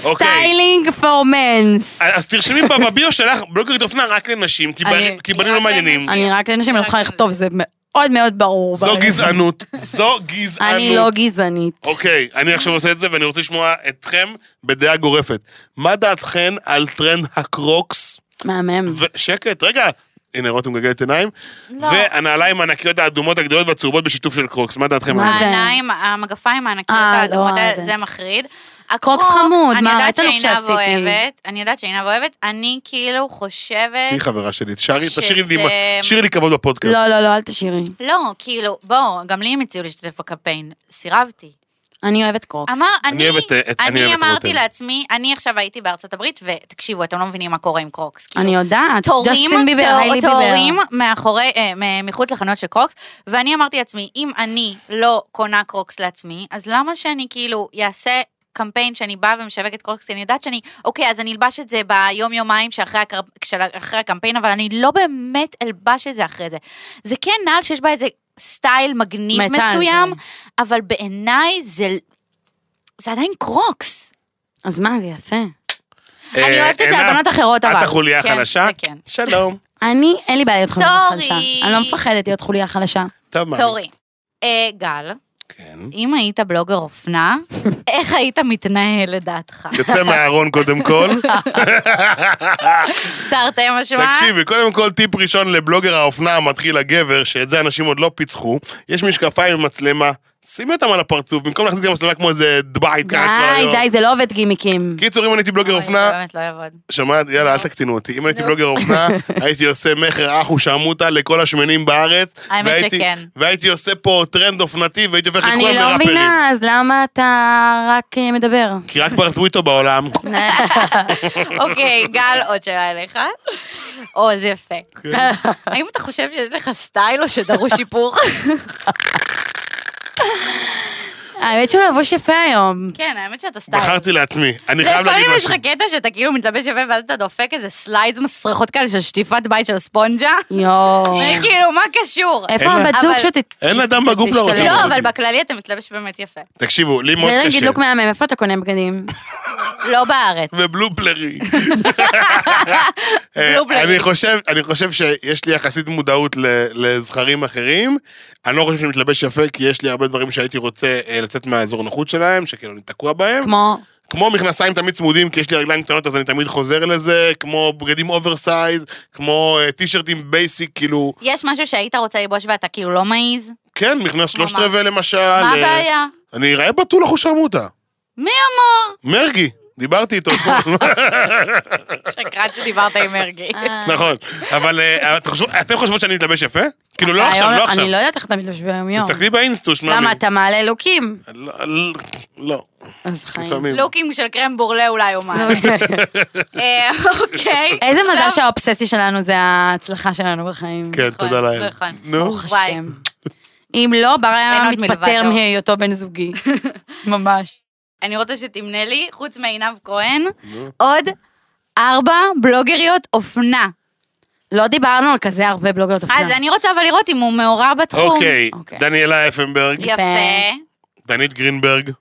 S2: אוקיי.
S3: סטיילינג פור מנס.
S2: אה, אז תרשמי ב- בביו שלך, בלוגרית אופנה רק לנשים, כי ב-
S3: אני-
S2: כי בנים לא
S4: רק
S2: מעניינים.
S4: לנשים.
S3: אני רק לנשים לא יכולה לכתוב, זה מאוד מאוד ברור.
S2: זו גזענות. זו גזענות.
S3: אני לא גזענית.
S2: אוקיי, אני עכשיו עושה את זה ואני רוצה לשמוע אתכם בדעה גורפת. מה דעתכן על טרנד הקרוקס?
S3: מהמם.
S2: ו- שקט, רגע. הנה, רותם מגלגלת עיניים.
S4: לא.
S2: והנעליים הענקיות האדומות הגדולות והצהובות בשיתוף של קרוקס. מה דעתכם על
S3: מה
S2: זה?
S3: זה?
S4: העיניים, המגפיים הענקיות
S3: אה, לא,
S4: האדומות, האלה,
S3: באמת.
S4: זה מחריד.
S3: הקרוקס חמוד,
S4: אני
S3: מה,
S4: יודעת
S3: ראית לו
S4: שעינב
S3: כשעשיתי.
S4: אוהבת, אני יודעת שעינב אוהבת, אני כאילו
S2: תהיי
S4: חושבת...
S2: חברה שלי, תשארי,
S4: שזה-
S2: תשאירי לי, תשאירי לי כבוד בפודקאסט.
S3: לא, לא, לא, אל תשאירי.
S4: לא, כאילו, בוא, גם לי הם הציעו להשתתף בקמפיין, סירבתי.
S3: אני אוהבת קרוקס.
S4: אמר,
S2: אוקיי. אני
S4: אני,
S2: אוהבת, אה, את- אני
S4: אני
S2: אוהבת
S4: אמרתי
S2: רותם.
S4: לעצמי, אני עכשיו הייתי בארצות הברית, ותקשיבו, אתם לא מבינים מה קורה עם קרוקס. כאילו,
S3: אני יודעת,
S4: תורים,
S3: ג'סטין ביבר,
S4: תור-
S3: היילי
S4: תורים
S3: ביבר.
S4: מאחורי, אה, מ- מחוץ לחנויות של קרוקס, ואני אמרתי לעצמי, אם אני לא קונה קרוקס לעצמי, אז למה שאני כאילו אעשה קמפיין שאני באה ומשווקת קרוקס, כי אני יודעת שאני, אוקיי, אז אני אלבש את זה ביום-יומיים שאחרי הקר- של- אחרי הקמפיין, אבל אני לא באמת אלבש את זה אחרי זה. זה כן נעל שיש בה איזה סטייל מגניב
S3: מתה על
S4: מסוים,
S3: זה.
S4: אבל בעיניי זה... זה עדיין קרוקס.
S3: אז מה, זה יפה.
S4: אני
S2: אה,
S4: אוהבת את זה על
S2: עינב,
S4: בנות אחרות, אבל.
S2: את החוליה
S4: כן,
S2: החלשה?
S4: זה כן. <laughs>
S2: שלום.
S3: אני, אין לי בעיה להיות חוליה
S4: סורי.
S3: חלשה. אני לא מפחדת להיות חוליה חלשה.
S2: טוב, מאמי.
S4: תורי. אה, גל,
S2: כן.
S4: אם היית בלוגר אופנה, איך היית מתנהל לדעתך?
S2: תצא מהארון קודם
S4: <laughs>
S2: כל.
S4: תרתי משמע.
S2: תקשיבי, קודם כל טיפ ראשון לבלוגר האופנה המתחיל הגבר, שאת זה אנשים עוד לא פיצחו, יש משקפיים עם מצלמה, שימי אותם על הפרצוף, במקום להחזיק את המצלמה כמו איזה דבעית ככה כל
S3: די,
S2: היום.
S3: די, זה לא עובד גימיקים.
S2: קיצור, אם אני הייתי בלוגר
S4: אוי,
S2: אופנה,
S4: זה באמת לא יעבוד.
S2: שמעת? יאללה, אל תקטינו אותי. אם הייתי בלוגר אופנה, הייתי עושה מכר אחו שעמותה לכל השמנים בארץ.
S4: האמת
S2: והייתי-
S4: שכן.
S2: והייתי עושה פה טרנד אופנתי, והייתי הופך את
S3: אני
S2: כולם
S3: לא
S2: לראפרים.
S3: מבינה, אז למה אתה רק אה, מדבר?
S2: כי רק ברטוויטו בעולם.
S4: אוקיי, גל, עוד שאלה אליך. או, זה יפה.
S2: כן.
S4: האם אתה חושב שיש לך סטייל או שדרוש שיפור?
S3: האמת שהוא לבוש יפה היום.
S4: כן, האמת שאתה סטייל.
S2: בחרתי לעצמי. אני חייב להגיד
S4: לפעמים יש
S2: משהו.
S4: לך קטע שאתה כאילו מתלבש יפה ואז אתה דופק איזה סליידס מסריחות כאלה של שטיפת בית של ספונג'ה.
S3: יואו.
S2: אה.
S4: וכאילו, מה קשור?
S3: איפה
S2: אין לה-
S3: הבת זוג
S4: אבל-
S3: שתשתלב?
S2: אין אדם בגוף להראות.
S4: לא, אבל בכללי אתה מתלבש באמת יפה.
S2: תקשיבו, לי מאוד
S3: זה
S2: קשה.
S3: נגיד לוק מהמם, איפה אתה קונה בגדים?
S4: לא בארץ.
S2: ובלופלרי.
S4: בלופלרי.
S2: אה, אני חושב, אני חושב שיש לי יחסית מודעות ל- לזכרים אחרים. אני לא חושב שאני מתלבש יפה, כי יש לי הרבה דברים שהייתי רוצה אה, לצאת מהאזור נוחות שלהם, שכאילו אני תקוע בהם.
S3: כמו...
S2: <laughs> כמו מכנסיים תמיד צמודים, כי יש לי רגליים קטנות, אז אני תמיד חוזר לזה, כמו בגדים אוברסייז, כמו אה, טישרטים בייסיק, כאילו,
S4: יש משהו שהיית רוצה ללבוש ואתה כאילו לא מעיז?
S2: כן, מכנס שלושת רבעי למשל.
S4: מה
S2: אה,
S4: הבעיה?
S2: אני אראה בתול אחושרמוטה.
S4: מי אמר?
S2: מרגי, דיברתי איתו.
S3: <laughs>
S4: שקרן שדיברת עם מרגי.
S3: אה,
S2: נכון, אבל אה, את חושב- אתם חושבות שאני מתלבש יפה? כאילו לא
S3: אתה
S2: עכשיו,
S3: היום-
S2: לא עכשיו.
S3: אני לא יודעת איך אתה מתלבש ביום-יום.
S2: תסתכלי באינסטוש, מאמי.
S3: למה, אתה מעלה לוקים?
S2: לא, לא, לא,
S3: אז חיים.
S2: לפעמים.
S4: לוקים של קרם בורלה אולי
S3: <laughs>
S4: או מה. אה, אוקיי.
S3: איזה מזל
S4: טוב.
S3: שהאובססיה שלנו זה ההצלחה שלנו בחיים.
S2: כן,
S4: נכון,
S2: תודה לאל.
S4: נכון.
S2: נו,
S3: ברוך
S4: וואי.
S3: השם. אם לא, בר היה
S4: אין עוד
S3: מתפטר
S4: מלבדו.
S3: מהיותו בן
S4: <laughs>
S3: זוגי. ממש.
S4: אני רוצה שתמנה לי, חוץ מעינב כהן, עוד ארבע בלוגריות אופנה.
S3: לא דיברנו על כזה הרבה בלוגרות אופנה.
S4: אז אני רוצה אבל לראות אם הוא מעורב בתחום.
S2: אוקיי,
S3: אוקיי.
S2: דניאלה אפנברג,
S4: יפה.
S2: דנית גרינברג.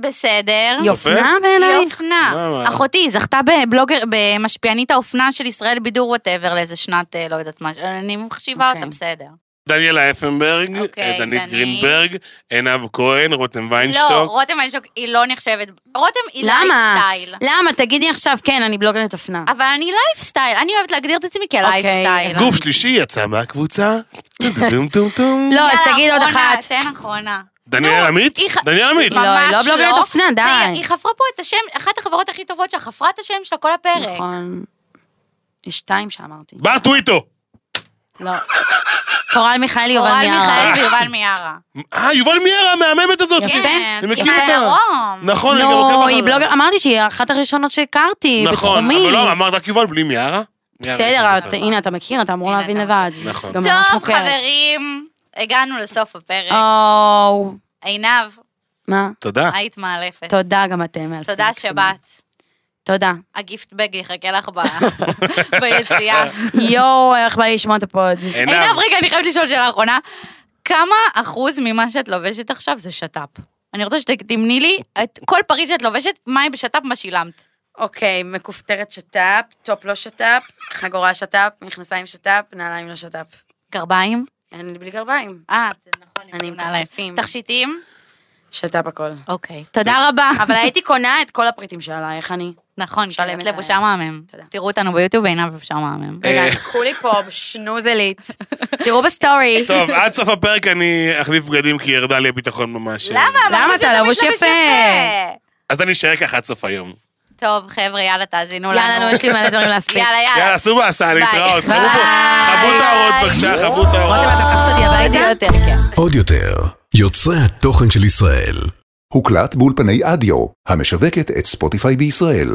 S4: בסדר.
S3: היא אופנה
S2: תופס?
S3: בעינייך?
S4: לא- היא אופנה.
S2: למה?
S4: אחותי היא זכתה בבלוגר, במשפיענית האופנה של ישראל בידור וואטאבר לאיזה שנת, אה, לא יודעת מה, אני מחשיבה
S3: אוקיי.
S4: אותה, בסדר.
S2: דניאלה אפנברג,
S4: אוקיי,
S2: אה, דנית
S4: דנית.
S2: גרינברג, עינב כהן, רותם
S4: לא,
S2: ויינשטוק.
S4: רותם איינשטוק היא לא נחשבת, רותם היא לא
S3: למה?
S4: לייפסטייל.
S3: למה? תגידי עכשיו, כן, אני בלוגרת אופנה.
S4: אבל אני לייפסטייל, אני אוהבת להגדיר את
S3: אוקיי.
S4: עצמי כלייפסטייל.
S2: גוף שלישי יצא מהקבוצה. טום טום טום טום.
S3: לא, אז
S4: יאללה,
S3: תגיד עוד
S4: אחרונה,
S3: אחת.
S4: תן אחרונה.
S2: דניאל
S4: נו,
S2: עמית?
S4: היא ח-
S2: דניאל עמית.
S3: לא, היא
S4: ממש
S3: לא בלוגרת אופנה, די.
S4: היא- היא חפרה פה את השם, אחת החברות הכי טובות שלה, חפרה את השם שלה כל הפרק.
S3: נכון. יש שתיים שאמרתי.
S2: בר טוויטו.
S3: לא. קורל מיכאלי יובל
S4: אורל
S3: מיארה.
S4: מיכאלי ויובל מיארה.
S2: אה, יובל מיארה, המהממת הזאת.
S4: כן,
S2: אני מכיר
S4: היא
S2: אותה.
S4: מהדרום.
S2: נכון, אני גם עוקב
S3: לא,
S2: אחריה.
S3: היא בלוגר, אמרתי שהיא אחת הראשונות שהכרתי,
S2: נכון,
S3: בתחומי.
S2: אבל לא, אמרת רק יובל בלי מיארה. מיארה,
S3: בסדר,
S2: אני
S3: את-
S2: זוכר.
S3: הנה, אתה מכיר, אתה אמור
S4: הנה,
S3: להבין
S4: אתה
S3: לבד.
S2: נכון.
S3: גם ממש אוקיי.
S4: טוב,
S3: מוכרת.
S4: חברים, הגענו לסוף הפרק.
S3: או...
S4: עינב,
S3: מה?
S2: תודה.
S4: היית מאלפת.
S3: תודה גם אתם, מאלפים
S4: תודה
S3: מקסימים.
S4: שבאת.
S3: תודה.
S4: הגיפט בג יחכה לך
S3: <laughs>
S4: ב- ביציאה.
S3: יואו, איך בא לי לשמוע את הפוד.
S4: עינב, רגע, אני חייבת לשאול שאלה אחרונה. כמה אחוז ממה שאת לובשת עכשיו זה שת"פ? אני רוצה שתמני לי את כל פריט שאת לובשת, מה היא בשת"פ, מה שילמת.
S3: אוקיי, מכופתרת שת"פ, טופ לא שת"פ, חגורה שת"פ, מכנסיים שת"פ, נעליים לא שת"פ.
S4: גרביים?
S3: אין לי בלי גרביים.
S4: אה, זה נכון,
S3: אני עם
S4: נעליים.
S3: כפכפים.
S4: תכשיטים?
S3: שת"פ הכל.
S4: אוקיי. תודה רבה.
S3: אבל הייתי קונה את כל הפריטים שעלה, איך אני?
S4: נכון,
S3: שלם
S4: כי את
S3: את ה-
S4: לבושה מהמם.
S3: תודה.
S4: תראו אותנו ביוטיוב, עינב לבושה מהמם.
S2: אה,
S3: רגע, כולי פה בשנוזלית. תראו בסטורי.
S2: טוב, עד סוף הפרק אני אחליף בגדים כי ירדה לי הביטחון ממש.
S4: למה?
S3: <laughs> למה?
S4: אמרת
S3: אתה
S4: שתמיד
S3: לבוש יפה.
S2: אז אני אשאר ככה עד סוף היום.
S4: טוב, חבר'ה, יאללה, תאזינו לנו.
S3: יאללה, נו, יש לי מלא דברים להספיק.
S4: יאללה,
S2: יאללה,
S4: יאללה.
S2: עשו בעשה, להתראות.
S4: אה.
S2: חבו
S4: ביי.
S2: חבו את האורות
S4: ביי.
S2: בבקשה, חבו את האורות.
S3: רותם, את לוקחת אותי הביתה?
S4: יותר, כן.
S1: עוד יותר, יוצרי התוכן של ישראל.
S5: הוקלט באולפני אדיו, המשווקת את ספוטיפיי בישראל.